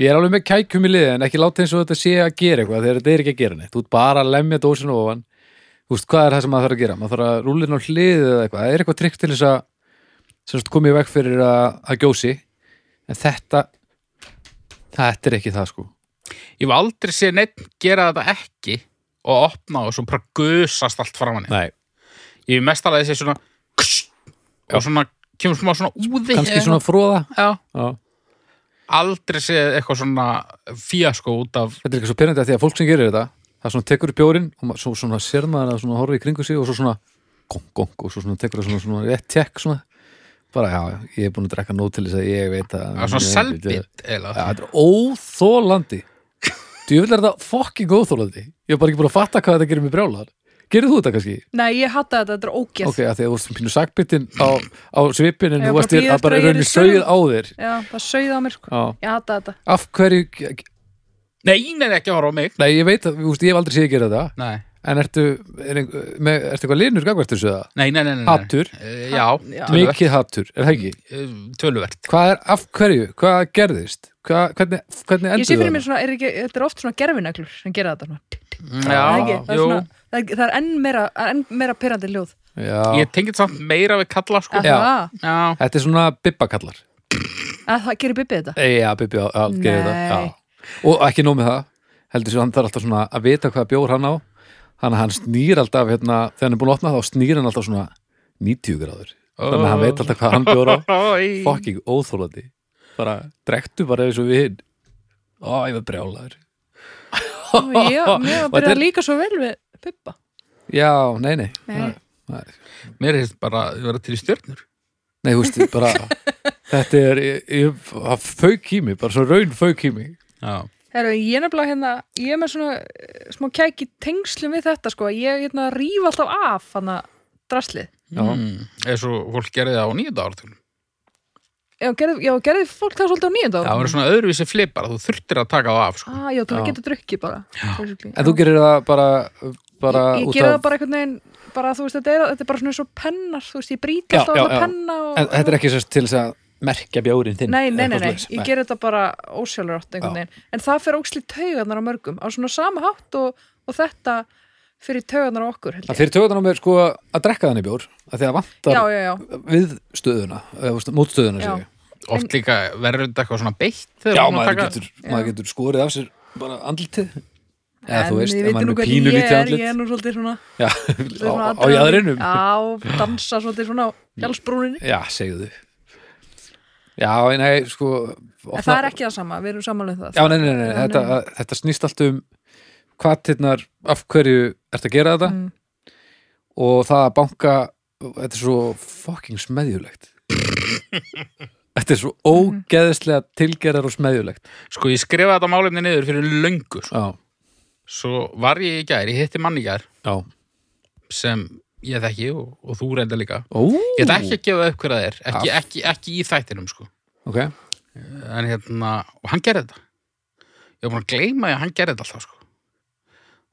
[SPEAKER 1] Ég er alveg með kækjum í liði en ekki láta eins og þetta sé að gera eitthvað þegar þetta er ekki að gera neitt. Þú ert bara að lemja dósinu ofan. Þú veist, hvað er það sem maður þarf að gera? Maður þarf að rúlina á hliðið eða eitthvað. Það er eitthvað trygg til þess að sem sagt, komið veg fyrir að, að gjósi en þetta þetta er ekki það sko.
[SPEAKER 2] ég hef aldrei séð neitt gera þetta ekki og opna og svo bara gusast allt framan í.
[SPEAKER 1] Nei.
[SPEAKER 2] Ég hef mest alveg séð svona kss, og svona kemur smá svona úði hérna.
[SPEAKER 1] Kanski svona fróða.
[SPEAKER 2] Já,
[SPEAKER 1] Já.
[SPEAKER 2] aldrei séð eitthvað svona fíasko út af
[SPEAKER 1] Þetta er eitthvað svo penandi að því að fólk sem gerir þetta það svona tekur upp bjórin og maður- svo, svona sér maður að svona horfa í kringu sig og svo svona gong, gong og svo svona tekur það svona, svona rétt tekk svona bara já, já, ég er búin að drekka nóg til þess að ég veit að
[SPEAKER 2] að svona
[SPEAKER 1] Já,
[SPEAKER 2] selbit eiginlega.
[SPEAKER 1] þetta er óþólandi Þú vil er þetta fucking óþólandi Ég er bara ekki búin að fatta hvað þetta gerir mér brjálar Gerðu þú þetta kannski?
[SPEAKER 3] Nei, ég hatta þetta, þetta er ógeð
[SPEAKER 1] Ok, að því að þú varst pínu sakbyttin á, á svipin en
[SPEAKER 3] Já,
[SPEAKER 1] þú
[SPEAKER 3] bara
[SPEAKER 1] varst þér
[SPEAKER 3] bíða
[SPEAKER 1] að bara
[SPEAKER 3] eftir að ég
[SPEAKER 1] raunir
[SPEAKER 3] yrði
[SPEAKER 1] sögð á þér
[SPEAKER 3] Já, það sauði á mér sko.
[SPEAKER 1] Já.
[SPEAKER 2] Ah.
[SPEAKER 3] Ég hatta þetta
[SPEAKER 1] Af hverju,
[SPEAKER 2] Nei, neina ekki að horfa á mig
[SPEAKER 1] nei ég veit að þú veist, ég hef aldrei séð að gera þetta
[SPEAKER 2] Nei,
[SPEAKER 1] en ertu, er, einhver- með, ertu eitthvað linur gagvart þessu það?
[SPEAKER 2] nei, nei, nei, nei.
[SPEAKER 1] Hattur,
[SPEAKER 2] Eh, Já,
[SPEAKER 3] Já.
[SPEAKER 2] töluvert,
[SPEAKER 1] mikið hattur, er það ekki?
[SPEAKER 2] eh, töluvert
[SPEAKER 1] Hvað er, af hverju, hvað gerðist? Hvað, hvernig, hvernig
[SPEAKER 3] Ég
[SPEAKER 1] endur
[SPEAKER 3] sé fyrir mér svona, er ekki, þetta er oft svona gerfineglur sem gera þetta svona. Það er
[SPEAKER 2] Já,
[SPEAKER 3] ekki, það, er
[SPEAKER 2] Ah, jú,
[SPEAKER 3] svona, það, er, það er enn meira, það er enn meira pyrrandi ljóð
[SPEAKER 1] Já,
[SPEAKER 2] ég tengið samt meira við kalla sko
[SPEAKER 3] að
[SPEAKER 1] Já.
[SPEAKER 3] það,
[SPEAKER 2] Já,
[SPEAKER 1] þetta er svona bibbakallar
[SPEAKER 3] að það gerir Bibbi þetta
[SPEAKER 1] Ei, Já, bibbi, já, já, gerði
[SPEAKER 3] Nei.
[SPEAKER 1] það já. Og ekki nóg með það, heldur svo hann þarf alltaf svona að vita hvað bjór hann á Þannig að hann snýr alltaf, hérna, þegar hann er búin að opna þá snýr hann alltaf svona 90 gráður Þannig að hann veit alltaf hvað hann
[SPEAKER 2] [laughs]
[SPEAKER 1] bjór á
[SPEAKER 2] Æ.
[SPEAKER 1] Fucking óþólandi Bara, drektu bara eins og við hinn Ó, ég var brjálaður
[SPEAKER 3] Og ég, mér
[SPEAKER 1] [laughs]
[SPEAKER 3] var
[SPEAKER 1] Og þetta
[SPEAKER 3] byrjað
[SPEAKER 1] er-
[SPEAKER 3] líka svo vel við Bibba
[SPEAKER 1] Já, nei, nei
[SPEAKER 3] Nei.
[SPEAKER 1] Nei.
[SPEAKER 2] Mér hefst bara að vera til í stjörnur
[SPEAKER 1] Nei, þú veist, bara
[SPEAKER 3] [laughs]
[SPEAKER 1] þetta er, ég, ég, það fauk í mig, bara svo raun fauk í mig
[SPEAKER 2] Já,
[SPEAKER 3] Heru, Ég er nefnilega hérna, ég er með svona eh, smá kæk í tengslum við þetta sko Ég hérna ríf alltaf af hann að draslið
[SPEAKER 1] Já,
[SPEAKER 2] mm. eins og fólk gerði það á nýjönda áratugnum
[SPEAKER 3] Já, gerði, já, gerði fólk það svolítið á nýjönda
[SPEAKER 2] Það var svona öðruvísi flipar, þú þurftir að taka það af sko.
[SPEAKER 3] ah, Já, þú
[SPEAKER 1] Já.
[SPEAKER 3] getur drukkið bara basically.
[SPEAKER 1] en þú gerir það bara, bara
[SPEAKER 3] ég, ég
[SPEAKER 1] út
[SPEAKER 3] gera það
[SPEAKER 1] af
[SPEAKER 3] bara einhvern veginn bara þú veist, þetta er, þetta er bara svona svo pennar þú veist, ég brýt
[SPEAKER 1] Já,
[SPEAKER 3] alltaf
[SPEAKER 1] já,
[SPEAKER 3] alla
[SPEAKER 1] já.
[SPEAKER 3] penna og,
[SPEAKER 1] en, Þetta er ekki sérst til þess að merkja bjórin þinn
[SPEAKER 3] nei, nei,
[SPEAKER 1] eða
[SPEAKER 3] nei,
[SPEAKER 1] eitthvað
[SPEAKER 3] nei,
[SPEAKER 1] svoleiðis.
[SPEAKER 3] ég gera þetta bara ósjálfrátt einhvern
[SPEAKER 1] Já.
[SPEAKER 3] veginn, en það fyrir óksli taugarnar á mörgum, á svona sama hátt og, og þetta fyrir taugarnar á okkur held
[SPEAKER 1] Það
[SPEAKER 3] ég,
[SPEAKER 1] fyrir töðan á mér sko að drekka þannig bjór að því að
[SPEAKER 3] já,
[SPEAKER 1] vantar
[SPEAKER 3] já, já
[SPEAKER 1] við stöðuna, eða, veist, mótstöðuna
[SPEAKER 3] Já.
[SPEAKER 1] já,
[SPEAKER 2] Oft líka verður þetta eitthvað svona beitt þegar
[SPEAKER 1] já
[SPEAKER 2] þú
[SPEAKER 1] maður,
[SPEAKER 2] taka-
[SPEAKER 1] getur, maður getur skorið af sér bara andlitið eða
[SPEAKER 3] En
[SPEAKER 1] þú veist,
[SPEAKER 3] þið
[SPEAKER 1] ef
[SPEAKER 3] vitið
[SPEAKER 1] maður er
[SPEAKER 3] nú
[SPEAKER 1] með
[SPEAKER 3] hvernig
[SPEAKER 1] pínu
[SPEAKER 3] ég
[SPEAKER 1] lítið
[SPEAKER 3] er,
[SPEAKER 1] andlit
[SPEAKER 3] ég er nú svolítið svona,
[SPEAKER 1] Já,
[SPEAKER 3] svolítið svona
[SPEAKER 1] á, á
[SPEAKER 3] aðdragandi.
[SPEAKER 1] jaðrinum
[SPEAKER 3] já, dansa svolítið svona á
[SPEAKER 1] Mm.
[SPEAKER 3] hjálsbrúninni,
[SPEAKER 1] Já, segðu Já, nei, sko
[SPEAKER 3] en það er ekki það sama við erum samanlega það,
[SPEAKER 1] Já, nei, nei, nei, nei. Þetta, þetta snýst allt um hvað tilnar, af hverju ertu að gera þetta
[SPEAKER 3] Mm.
[SPEAKER 1] og það að banka þetta er svo fucking smeðjulegt Þetta er svo
[SPEAKER 3] Mm.
[SPEAKER 1] ógeðislega tilgerðar og smeðjulegt
[SPEAKER 2] Sko ég skrifaði þetta málefni niður fyrir löngu sko.
[SPEAKER 1] Já,
[SPEAKER 2] Svo var ég í gær, ég hitti mann í gær
[SPEAKER 1] já
[SPEAKER 2] sem ég þekki og, og þú reynda líka
[SPEAKER 1] Ó,
[SPEAKER 2] Ég ætla ekki að gefa upp hver það er ekki, ekki, ekki í þættinum sko
[SPEAKER 1] Ok,
[SPEAKER 2] en hérna, og hann gerði þetta ég var búin að gleyma því að hann gerði þetta alltaf sko.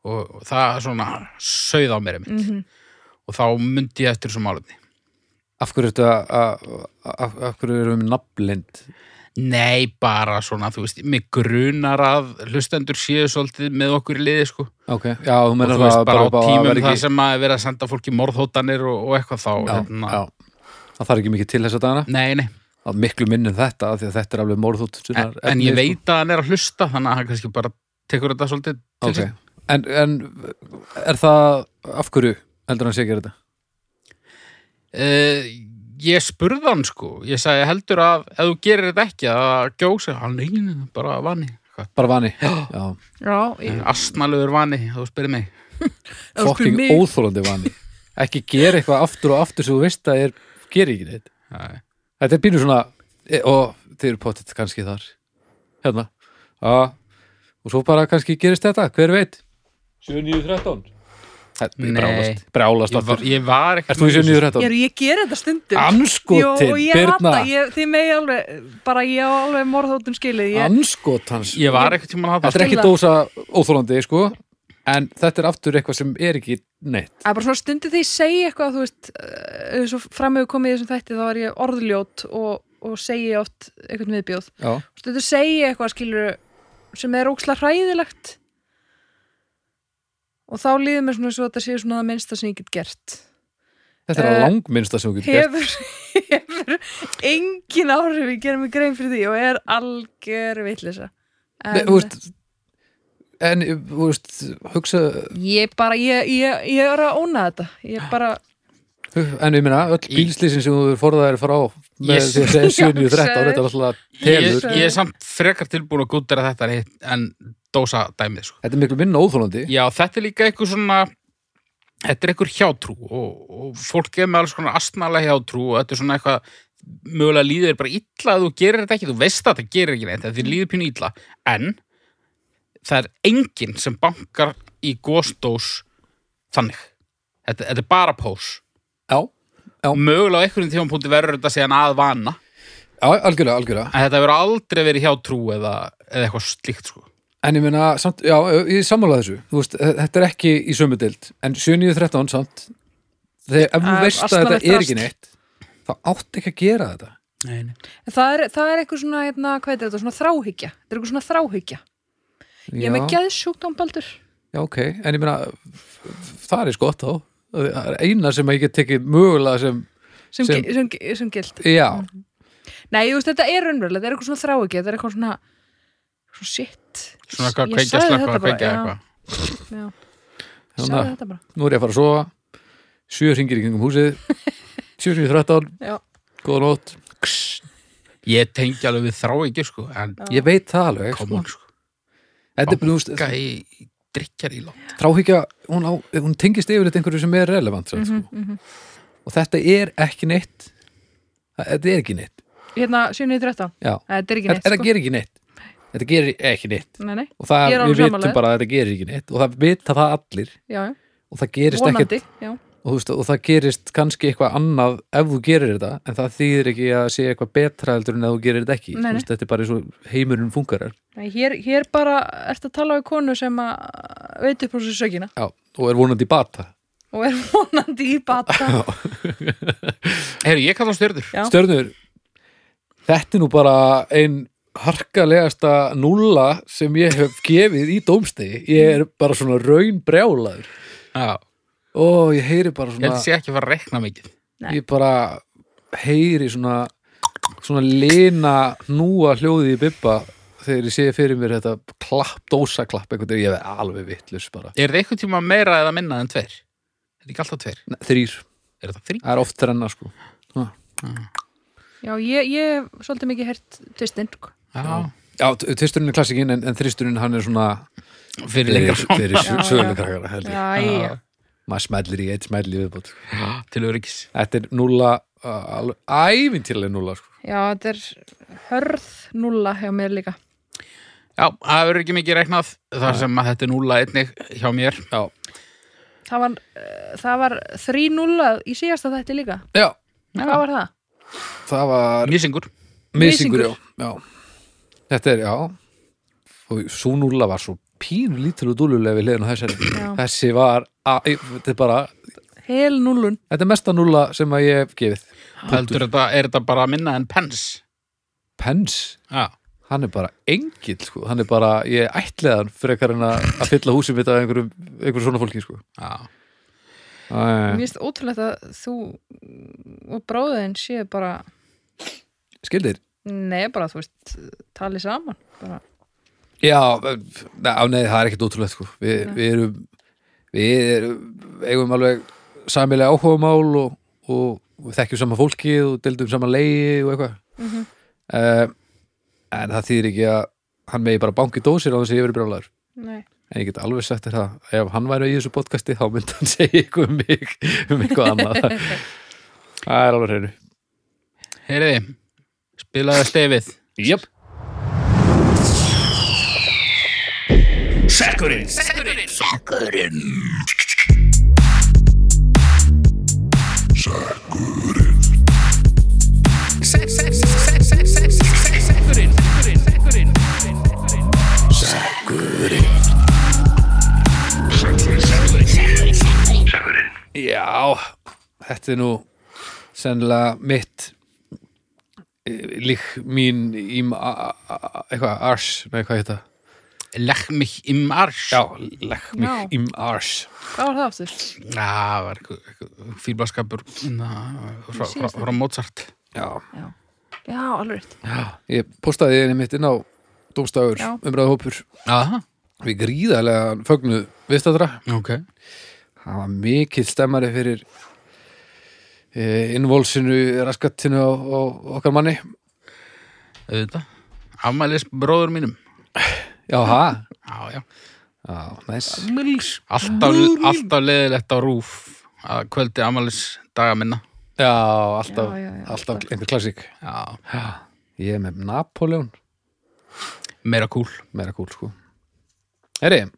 [SPEAKER 2] og, og það svona sögð á mér einmitt
[SPEAKER 3] mm
[SPEAKER 2] og þá myndi ég eftir þessu málefni
[SPEAKER 1] af hverju ertu að að- af af hverju erum við nafnlind
[SPEAKER 2] nei, bara svona, þú veist mig grunar að hlustendur séu svolítið með okkur í liði sko.
[SPEAKER 1] Ok, já, þú
[SPEAKER 2] og
[SPEAKER 1] menar
[SPEAKER 2] þú veist,
[SPEAKER 1] það
[SPEAKER 2] bara á
[SPEAKER 1] upp að
[SPEAKER 2] tímum
[SPEAKER 1] vera
[SPEAKER 2] það
[SPEAKER 1] ekki-
[SPEAKER 2] sem að er verið að senda fólki morðhótanir og, og eitthvað þá hérna.
[SPEAKER 1] Já, já Það þarf ekki mikið til þess að dana
[SPEAKER 2] nei, nei,
[SPEAKER 1] að miklu minnum þetta af því að þetta er sko. alveg morðhótt
[SPEAKER 2] en, en ég veit að hann er að hlusta þannig að hann kannski bara tekur þetta svolítið til
[SPEAKER 1] sko. Ok,
[SPEAKER 2] sín.
[SPEAKER 1] en, en er það af hverju heldur hann sé að gera þetta?
[SPEAKER 2] uh, ég spurði hann sko ég sagði heldur að ef þú gerir þetta ekki að gjósa, hann neina bara vani, Eitthvað.
[SPEAKER 1] Bara
[SPEAKER 2] [gasps]
[SPEAKER 1] vani? Já,
[SPEAKER 3] já,
[SPEAKER 1] Mm.
[SPEAKER 3] ég,
[SPEAKER 2] asnalögur vani þú spyrir mig,
[SPEAKER 3] Ef þú spyrir
[SPEAKER 1] fokking
[SPEAKER 3] mig.
[SPEAKER 1] óþólandi vani ekki gera eitthvað aftur og aftur sem þú veist að er, gera ekki neitt
[SPEAKER 2] Nei.
[SPEAKER 1] Þetta er pínu svona e, og þeir eru pottitt kannski þar hérna, já og svo bara kannski gerist þetta, hver veit 7.9.13
[SPEAKER 2] Nei.
[SPEAKER 1] Brálast, brálast
[SPEAKER 2] ég
[SPEAKER 1] aftur
[SPEAKER 2] var, ég var
[SPEAKER 1] Ert þú í
[SPEAKER 3] ég,
[SPEAKER 1] 7.9.13?
[SPEAKER 3] er- ég ger þetta stundum Jú,
[SPEAKER 1] Anskotin,
[SPEAKER 3] og ég
[SPEAKER 1] Birna
[SPEAKER 3] hata, ég, þið megi alveg, bara ég á alveg morðhóttun skilið, ég,
[SPEAKER 1] Anskot hans
[SPEAKER 2] ég var ekkert tímann að
[SPEAKER 1] Þetta
[SPEAKER 2] hafa
[SPEAKER 1] er ekki dósa óþólandi, sko en þetta er aftur eitthvað sem er ekki neitt.
[SPEAKER 3] það er bara svona stundir þegar ég segi eitthvað, þú veist, eh, eins og framöfu komið í þessum þætti, þá er ég orðljót og, og segi oft eitthvað viðbjóð.
[SPEAKER 1] Já.
[SPEAKER 3] Stundir segi ég eitthvað, skilur, sem er óksla hræðilegt og þá líður mér svona svo að þetta séu svona það minnsta sem ég get gert.
[SPEAKER 1] Þetta er
[SPEAKER 3] Eh,
[SPEAKER 1] uh, langminnsta sem þú getur gert.
[SPEAKER 3] Hefur, [laughs] hefur engin áhrif, ég gerum mig grein fyrir því og er algjör vitlisa.
[SPEAKER 1] Nei, þú veist, en, þú veist, hugsa
[SPEAKER 3] Ég bara, ég, ég, ég er að óna þetta Ég bara,
[SPEAKER 1] en ég meina, öll
[SPEAKER 2] Í-
[SPEAKER 1] bílslýsin sem þú forðaðir frá með
[SPEAKER 2] Yes.
[SPEAKER 1] því að segja 7, 9, 13
[SPEAKER 3] Já,
[SPEAKER 1] þetta er alltaf
[SPEAKER 2] ég,
[SPEAKER 1] telur.
[SPEAKER 2] ég er samt frekar tilbúin að gútera þetta en hitt- en dósa dæmið sko.
[SPEAKER 1] Þetta er miklu minna óþólandi.
[SPEAKER 2] já, þetta er líka eitthvað svona þetta er eitthvað hjátrú og, og fólk er með alls konar asnalega hjátrú og þetta er svona eitthvað mögulega líður þér bara illa að þú gerir þetta ekki, þú veist að þetta gerir ekki neitt þetta líður pínu illa, en það er enginn sem bankar í góstós þannig þetta, þetta er bara pós
[SPEAKER 1] Já, Já.
[SPEAKER 2] mögulega á einhverjum tímapunkti verður þetta síðan að vana
[SPEAKER 1] já, algjörlega, algjörlega.
[SPEAKER 2] en þetta verður aldrei verið hjá trú eða, eða eitthvað slíkt sko.
[SPEAKER 1] En ég meina, samt, já, ég sammála þessu. Þú veist, þetta er ekki í sömu dild. En 7.13 samt, þegar ef þú
[SPEAKER 3] Að-
[SPEAKER 1] veist að
[SPEAKER 3] asnalegt
[SPEAKER 1] þetta er
[SPEAKER 3] drasl.
[SPEAKER 1] ekki neitt, þá átt ekki að gera þetta.
[SPEAKER 2] nei, nei.
[SPEAKER 3] En Það er, það er eitthvað svona, hérna, hvað er þetta, svona þráhyggja. Þetta er eitthvað svona þráhyggja. Ég
[SPEAKER 1] Já.
[SPEAKER 3] er með geðsjúkdóm, Baldur.
[SPEAKER 1] Já, ok, en ég meina f- f- það er skott þá Það er eina sem ég get tekið mögulega sem,
[SPEAKER 3] Sem,
[SPEAKER 1] Sem-
[SPEAKER 3] sem, sem, sem gilt.
[SPEAKER 1] já,
[SPEAKER 3] Nei, þú veist, þetta er raunverulega, þetta er eitthvað svona þráhyggja, þetta er eitthvað svona, svona shit.
[SPEAKER 2] svona eitthvað
[SPEAKER 3] Ég
[SPEAKER 2] kveikja
[SPEAKER 3] sagði
[SPEAKER 2] slökka
[SPEAKER 3] þetta bara,
[SPEAKER 2] kveikja
[SPEAKER 3] já.
[SPEAKER 2] eitthvað
[SPEAKER 3] Já, ég
[SPEAKER 1] þannig
[SPEAKER 3] sagði
[SPEAKER 1] að
[SPEAKER 3] þetta bara.
[SPEAKER 1] nú er ég að fara að sofa sjö hringir í kringum
[SPEAKER 3] [laughs]
[SPEAKER 1] húsið sjö hringir þrættan,
[SPEAKER 3] Já,
[SPEAKER 1] góða nótt
[SPEAKER 2] ég tengi alveg við þrá ekki sko, en
[SPEAKER 1] ég veit það alveg
[SPEAKER 2] kom
[SPEAKER 1] sko.
[SPEAKER 2] hún sko,
[SPEAKER 1] þetta er blúst,
[SPEAKER 2] gæ, drikjar í land
[SPEAKER 1] þráhyggja hún, á, hún tengist yfirleitt einhverju sem er relevant mm
[SPEAKER 3] Mhm,
[SPEAKER 1] sko. og þetta er ekki neitt Það- þetta er ekki neitt
[SPEAKER 3] hérna, 7.13.
[SPEAKER 1] já,
[SPEAKER 3] Nei, Þetta er ekki
[SPEAKER 1] þetta,
[SPEAKER 3] neitt, sko.
[SPEAKER 1] þetta gerir ekki neitt þetta gerir ekki neitt
[SPEAKER 3] Nei, nei,
[SPEAKER 1] og það,
[SPEAKER 3] Ég er alveg
[SPEAKER 1] við
[SPEAKER 3] sammála
[SPEAKER 1] vitum
[SPEAKER 3] þér.
[SPEAKER 1] bara að þetta gerir ekki neitt og það vita það allir
[SPEAKER 3] já, já.
[SPEAKER 1] og það gerist ekkert
[SPEAKER 3] vonandi, já.
[SPEAKER 1] og, þú veist, og það gerist kannski eitthvað annað ef þú gerir þetta, en það þýðir ekki að sé eitthvað betra heldur en ef þú gerir þetta ekki
[SPEAKER 3] Nei, nei.
[SPEAKER 1] Þú veist, þetta er bara eins og heimurinn funkarar
[SPEAKER 3] Nei, hér, hér bara ertu að tala við konu sem að uh, veit upp á þessu sökina
[SPEAKER 1] Já, og er vonandi í bata
[SPEAKER 3] og er [laughs] vonandi í
[SPEAKER 1] [laughs]
[SPEAKER 3] bata
[SPEAKER 2] Heyrðu, ég kalla stjörður
[SPEAKER 3] Já.
[SPEAKER 1] Stjörnur, þetta er nú bara ein harkalegasta nulla sem ég hef gefið í dómstegi ég er bara svona raun brjálaður
[SPEAKER 2] Já,
[SPEAKER 1] og ég heyri bara
[SPEAKER 2] ég held
[SPEAKER 1] svona
[SPEAKER 2] að sé ekki að fara að rekna mikið
[SPEAKER 3] Nei.
[SPEAKER 1] ég bara heyri svona svona lina núa hljóði í bibba þegar ég sé fyrir mér þetta klapp, dósaklapp einhvern veginn, ég er alveg vittlus bara
[SPEAKER 2] Er það einhvern tíma meira eða minna en tver? Þetta er ekki alltaf tver,
[SPEAKER 1] Nei, þrýr,
[SPEAKER 2] er þetta þrý?
[SPEAKER 1] það er oft þrenna sko
[SPEAKER 3] Já, ég, ég hef svolítið mikið hert tvistinn sko.
[SPEAKER 2] Já,
[SPEAKER 1] Já, t- tvisturinn er klassikinn en, en þrýsturinn hann er svona
[SPEAKER 2] fyrir lengra frá
[SPEAKER 1] fyrir
[SPEAKER 3] Já,
[SPEAKER 1] söguleg
[SPEAKER 3] já.
[SPEAKER 1] krakkara held ég Ah.
[SPEAKER 3] Jæja,
[SPEAKER 1] maður smellir í eitt smelli viðbót sko.
[SPEAKER 2] Já, Til öryggis
[SPEAKER 1] þetta er núla uh, ævintilega núla sko.
[SPEAKER 3] já, þetta er hörð nulla hjá mér líka
[SPEAKER 2] Já, það verður ekki mikið reknað þar sem að þetta er núla einnig hjá mér
[SPEAKER 1] Já,
[SPEAKER 3] Það var, uh, það var 3-0 í síðasta þætti líka
[SPEAKER 1] já
[SPEAKER 3] Hvað var það?
[SPEAKER 1] það var
[SPEAKER 2] Lýsingur
[SPEAKER 1] misingur
[SPEAKER 3] Mysingur.
[SPEAKER 1] já. já, þetta er já og svo núla var svo pínu lítil og dúlulega við hliðin á þessari
[SPEAKER 3] Já.
[SPEAKER 1] þessi var, að, þetta er bara
[SPEAKER 3] Hel nullun
[SPEAKER 1] þetta er mesta núla sem að ég hef gefið
[SPEAKER 2] Heldur þetta, er þetta bara minna en pens
[SPEAKER 1] Pens,
[SPEAKER 2] Já,
[SPEAKER 1] hann er bara engill sko. hann er bara, ég ætlaði hann frekar en að, að fylla húsið mitt af einhverjum, einhverjum svona fólki sko.
[SPEAKER 2] já
[SPEAKER 1] Æ,
[SPEAKER 3] Mér finnst ótrúlegt að þú og bróðin séu bara
[SPEAKER 1] skildir
[SPEAKER 3] Nei, bara þú veist, talið saman bara.
[SPEAKER 1] já, na, á, nei, það er ekkert ótrúlegt sko. Vi,
[SPEAKER 3] Nei.
[SPEAKER 1] við erum við erum, eigum alveg samilega áhugamál og, og, og þekkjum sama fólki og deildum sama leiði og eitthvað mm en það þýðir ekki að hann megi bara banki dósir á þess að ég verið brjálæður
[SPEAKER 3] Nei,
[SPEAKER 1] En ég get alveg sagt þér það, ef hann væri í þessu podcasti þá myndi hann [laughs] segja ykkur um mig um eitthvað annað Það er alveg hreinu
[SPEAKER 2] Heyriði, spilaðu stefið
[SPEAKER 1] Jöp, já Þetta er nú sennilega mitt eh, lík mín ím a- a- a- eitthvað ars, nei hvað heita
[SPEAKER 2] Legg mig im arsch
[SPEAKER 1] Já, lekk
[SPEAKER 3] Já.
[SPEAKER 1] mig ím ars
[SPEAKER 3] hvað var það aftur?
[SPEAKER 2] Já, það var fýrblaskapur hérna frá, frá, frá Mozart
[SPEAKER 1] Já,
[SPEAKER 3] Já, já alveg rétt
[SPEAKER 1] ég postaði einu mitt inn á Dómstagur,
[SPEAKER 3] Já.
[SPEAKER 1] umræðahópur
[SPEAKER 2] Aha,
[SPEAKER 1] Við gríðarlega fögnuð viðstættra
[SPEAKER 2] ok
[SPEAKER 1] Það var mikill stemmari fyrir eh, innvolsinu raskattinu á, á okkar manni
[SPEAKER 2] Auðvitað Afmælis bróður mínum
[SPEAKER 1] Já, ha?
[SPEAKER 2] Já, já
[SPEAKER 1] Já, næs
[SPEAKER 2] Afmælis Alltaf, alltaf leðilegt á rúf að kvöldi afmælis daga minna
[SPEAKER 1] Já, alltaf,
[SPEAKER 3] Já, já, já,
[SPEAKER 1] alltaf
[SPEAKER 3] alltaf.
[SPEAKER 1] einhver klassík
[SPEAKER 2] Já,
[SPEAKER 1] Já, Ég er með Napoleon
[SPEAKER 2] meira kúl
[SPEAKER 1] meira kúl, sko Herri uh,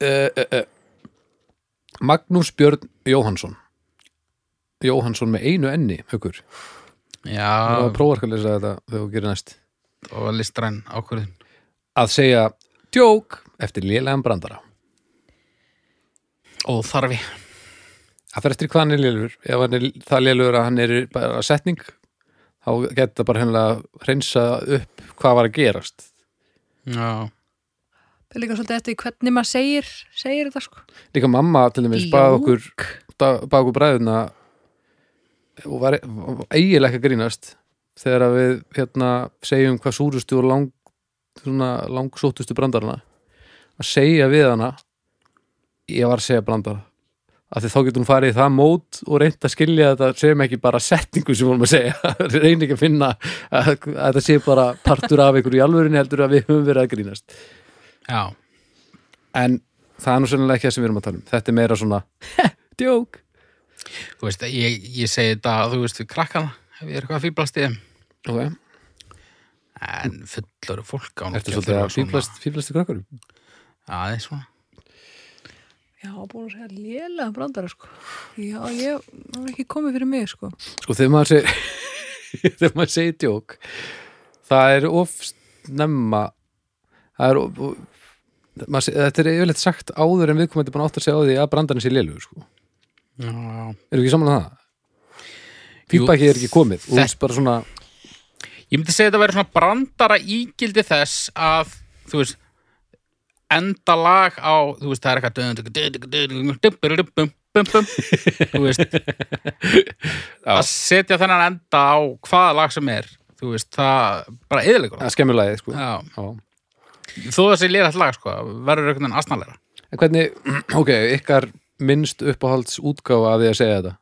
[SPEAKER 1] uh, uh. Eh, Magnús Björn Jóhansson Jóhansson með einu enni haukur, það
[SPEAKER 2] Já,
[SPEAKER 1] var prófark að lesa þetta þegar þú gerir næst
[SPEAKER 2] það var listræn ákvörðin.
[SPEAKER 1] að segja djók eftir lélegan brandara
[SPEAKER 2] Ó, þarfi.
[SPEAKER 1] það fer eftir hvað hann er lélur ef hann er það lélur að hann er bara setning þá getur það bara hennilega hreinsa upp hvað var að gerast
[SPEAKER 2] Já,
[SPEAKER 3] Það er líka svolítið eftir því hvernig maður segir, segir þetta sko.
[SPEAKER 1] líka mamma til dæmis bað okkur bað okkur bræðuna og var var eiginlega ekki að grínast þegar að við hérna segjum hvað súrustu og lang, svona, langsóttustu brandarana að segja við hana ég var að segja brandara af því þá getur hún farið í það mót og reynd að skilja þetta sem ekki bara setningu sem vorum að segja, [laughs] reynd ekki að finna að, að þetta sé bara partur af ykkur í alvörinu heldur að við höfum verið að grínast
[SPEAKER 2] já.
[SPEAKER 1] en það er nú sennilega ekki það sem við erum að tala um þetta er meira svona djók
[SPEAKER 2] Þú veist, ég, ég segi þetta, þú veist, við krakkana, ef ég er eitthvað að fýblast í þeim.
[SPEAKER 1] okay.
[SPEAKER 2] En fullur fólk á nú
[SPEAKER 1] Ertu
[SPEAKER 2] ekki
[SPEAKER 1] svolítið
[SPEAKER 2] þurfa
[SPEAKER 1] að fýblast, fýblast í krakkar?
[SPEAKER 2] Já, það er svona.
[SPEAKER 3] Já, búin að segja lélega brandara sko. Já, ég það var ekki komið fyrir mig sko.
[SPEAKER 1] Sko þegar maður segir [laughs] þegar maður segir djók það er of snemma það er of, of maður, seg- þetta er yfirleitt sagt áður en viðkomandi búin átt að segja á því að brandarinn sé lélugur sko.
[SPEAKER 2] Já, já.
[SPEAKER 1] Eru ekki saman að það?
[SPEAKER 2] Jú,
[SPEAKER 1] Pípa ekki er ekki komið og þú
[SPEAKER 2] þetta-
[SPEAKER 1] veist bara svona
[SPEAKER 2] Ég myndi segja þetta verið svona brandara ígildi þess að, þú veist, enda lag á, þú veist, það er eitthvað þú [laughs] veist að setja þennan enda á hvaða lag sem er þú veist, það bara yðurleikur
[SPEAKER 1] að skemmulagið sko.
[SPEAKER 2] Já,
[SPEAKER 1] Já.
[SPEAKER 2] þó það sé lera lag, sko, verður einhvern veginn asnalegra
[SPEAKER 1] En hvernig, [clears throat] ok, ykkar minnst uppáhalds útgáfa af því að segja þetta?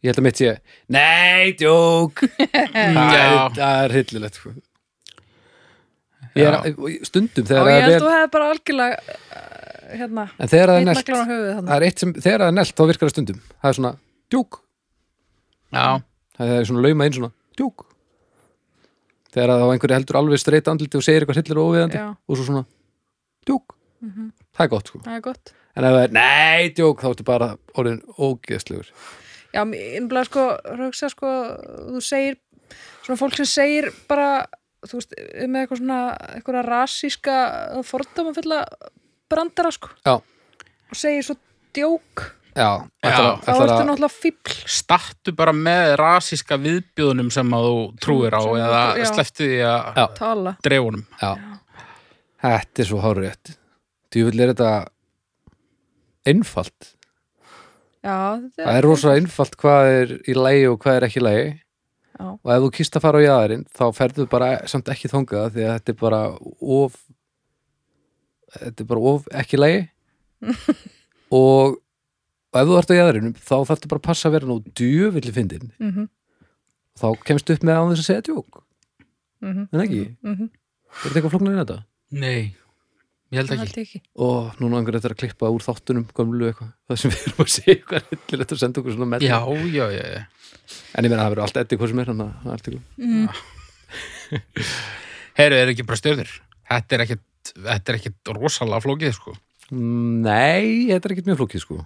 [SPEAKER 1] Ég held að mitt sé Nei,
[SPEAKER 3] [laughs]
[SPEAKER 1] djók Það er-
[SPEAKER 2] Já.
[SPEAKER 1] það er hillilegt sko. Ég er stundum
[SPEAKER 3] Já,
[SPEAKER 1] þegar
[SPEAKER 3] ég
[SPEAKER 1] það
[SPEAKER 3] held
[SPEAKER 1] er
[SPEAKER 3] þú
[SPEAKER 1] vel
[SPEAKER 3] hefði bara algjörlega uh, hérna,
[SPEAKER 1] En þegar það er
[SPEAKER 3] hitt
[SPEAKER 1] nelt
[SPEAKER 3] naglan á höfuðið
[SPEAKER 1] Það
[SPEAKER 3] þannig.
[SPEAKER 1] er eitt sem, þegar það er nelt þá virkar það stundum Það er svona djók
[SPEAKER 2] Já,
[SPEAKER 1] Það er svona lauma inn svona djók Þegar að þá einhverju heldur alveg streit andliti og segir eitthvað hillir og óviðandi
[SPEAKER 3] Já. Mhm.
[SPEAKER 1] og svo svona djók Það er gott sko
[SPEAKER 3] Það er gott.
[SPEAKER 1] En ef það er nei, djók, þá ertu bara orðin ógeðslegur
[SPEAKER 3] Já, innblæð sko, rauksa sko, þú segir, svona fólk sem segir bara, þú veist, með eitthvað svona, eitthvað rasíska fordóma fulla brandara sko.
[SPEAKER 1] Já.
[SPEAKER 3] Og segir svo djók,
[SPEAKER 1] Já,
[SPEAKER 2] Já.
[SPEAKER 3] þá ertu náttúrulega fíbl.
[SPEAKER 2] startu bara með rasíska viðbjóðunum sem að þú trúir á
[SPEAKER 3] Sem- sem-
[SPEAKER 2] eða
[SPEAKER 3] já.
[SPEAKER 2] sleftu því að
[SPEAKER 1] Já.
[SPEAKER 3] Tala.
[SPEAKER 2] dreifunum
[SPEAKER 1] já. Þetta er svo hárétt Djúvill er þetta einfalt
[SPEAKER 3] Já, þetta
[SPEAKER 1] Það er rosa einfalt hvað er í lægi og hvað er ekki í lægi
[SPEAKER 3] Já.
[SPEAKER 1] og ef þú kýst að fara á jaðarinn þá ferðu bara samt ekki þangað því að þetta er bara of þetta er bara of ekki í lægi
[SPEAKER 3] [laughs]
[SPEAKER 1] og og ef þú ert á jaðarinnum þá þarftu bara að passa að vera nú djöfulli fyndin
[SPEAKER 3] Mhm.
[SPEAKER 1] þá kemstu upp með án þess að segja djók
[SPEAKER 3] Mhm.
[SPEAKER 1] en ekki,
[SPEAKER 3] Mhm.
[SPEAKER 1] er þetta eitthvað flóknar en þetta?
[SPEAKER 2] Nei, ég held
[SPEAKER 3] Það
[SPEAKER 2] ekki
[SPEAKER 3] held ég ekki.
[SPEAKER 1] og núna einhverjum þetta er að klippa úr þáttunum gömlu eitthvað, það sem við erum að segja eitthvað [laughs] hillilegt og senda okkur svona með
[SPEAKER 2] Já, já, já, já
[SPEAKER 1] en ég meina það verður allt eddi hvað sem er hann að allt ykkur
[SPEAKER 2] Heyrðu, er ekki bara stjörnir Þetta er ekkit, þetta er ekkit rosalega flókið, sko
[SPEAKER 1] Mm, nei, þetta er ekkert mjög flókið sko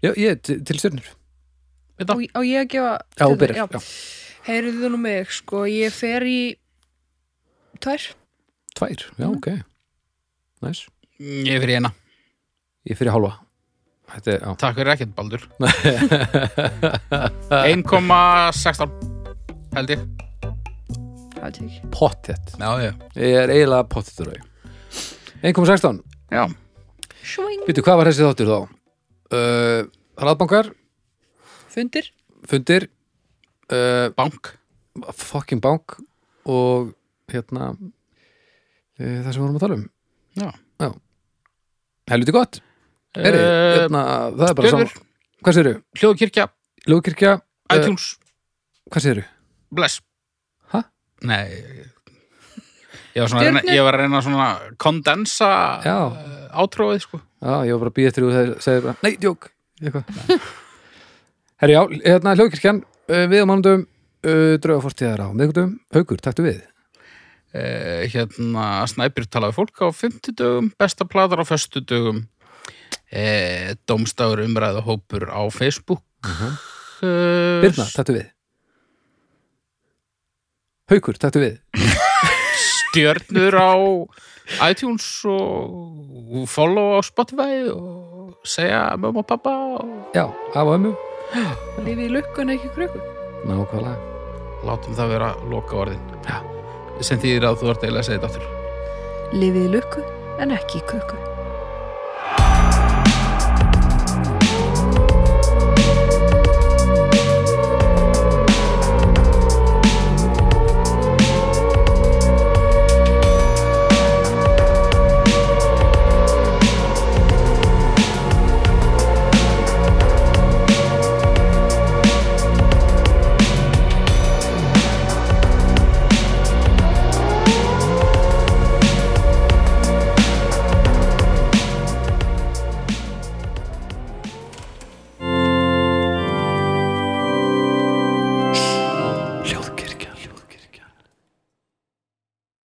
[SPEAKER 1] já, ég, til, til stjörnur
[SPEAKER 2] Já.
[SPEAKER 3] Og, og ég að gefa...
[SPEAKER 1] já, og byrjar, já,
[SPEAKER 3] Heyriðu nú mig, sko, ég fer í tvær.
[SPEAKER 1] tvær, já, ok næs,
[SPEAKER 2] Ég er fyrir eina,
[SPEAKER 1] ég fyrir hálfa þetta er, já,
[SPEAKER 2] takk fyrir ekkit, [laughs] Baldur 1,16 held ég
[SPEAKER 3] Það held ég ekki.
[SPEAKER 1] pottet
[SPEAKER 2] Já, já,
[SPEAKER 1] ég er eiginlega pottetur 1.16,
[SPEAKER 2] já
[SPEAKER 3] Sving.
[SPEAKER 1] býttu, hvað var þessi þáttur þá? Uh, Raðbankar,
[SPEAKER 3] Fundir.
[SPEAKER 1] fundir uh,
[SPEAKER 2] Bank,
[SPEAKER 1] fucking bank og hérna e, það sem við vorum að tala um
[SPEAKER 2] já
[SPEAKER 1] helviti gott, Heri,
[SPEAKER 2] Eh,
[SPEAKER 1] hérna, það er bara
[SPEAKER 2] Stjörnur,
[SPEAKER 1] saman hvað séru,
[SPEAKER 2] Hljóðkirkja,
[SPEAKER 1] Ljókirkja Eh,
[SPEAKER 2] iTunes
[SPEAKER 1] hvað séru,
[SPEAKER 2] Bless
[SPEAKER 1] Ha?
[SPEAKER 2] Nei Ég var, svona, að reyna,
[SPEAKER 3] Stjörnur?
[SPEAKER 2] ég var að reyna svona kondensa
[SPEAKER 1] Já.
[SPEAKER 2] eh, átróið sko
[SPEAKER 1] já, ég var bara að býja eftir og það segir bara, nei, djók eitthvað herri, já, hérna Ljókirkjan uh, við á mánudum, uh, draugafortíðar á miðgundum, haukur, taktu við
[SPEAKER 2] eh, Hérna Snæbjörn talaði fólk á 50 dögum, besta platar á föstu dögum e, Dómstafur umræða hópur á Facebook uh,
[SPEAKER 1] Birna, tættu við Haukur, tættu við
[SPEAKER 2] stjörnur á iTunes og follow á Spotify og segja mamma og pappa og
[SPEAKER 1] Já, af og ömmu
[SPEAKER 3] Lífið í lukkun ekki krökun
[SPEAKER 1] Nákvæmlega
[SPEAKER 2] látum það vera loka orðin sem þýðir að þú ert eiginlega að segja þetta aftur
[SPEAKER 3] Lífið í lukku en ekki í krökun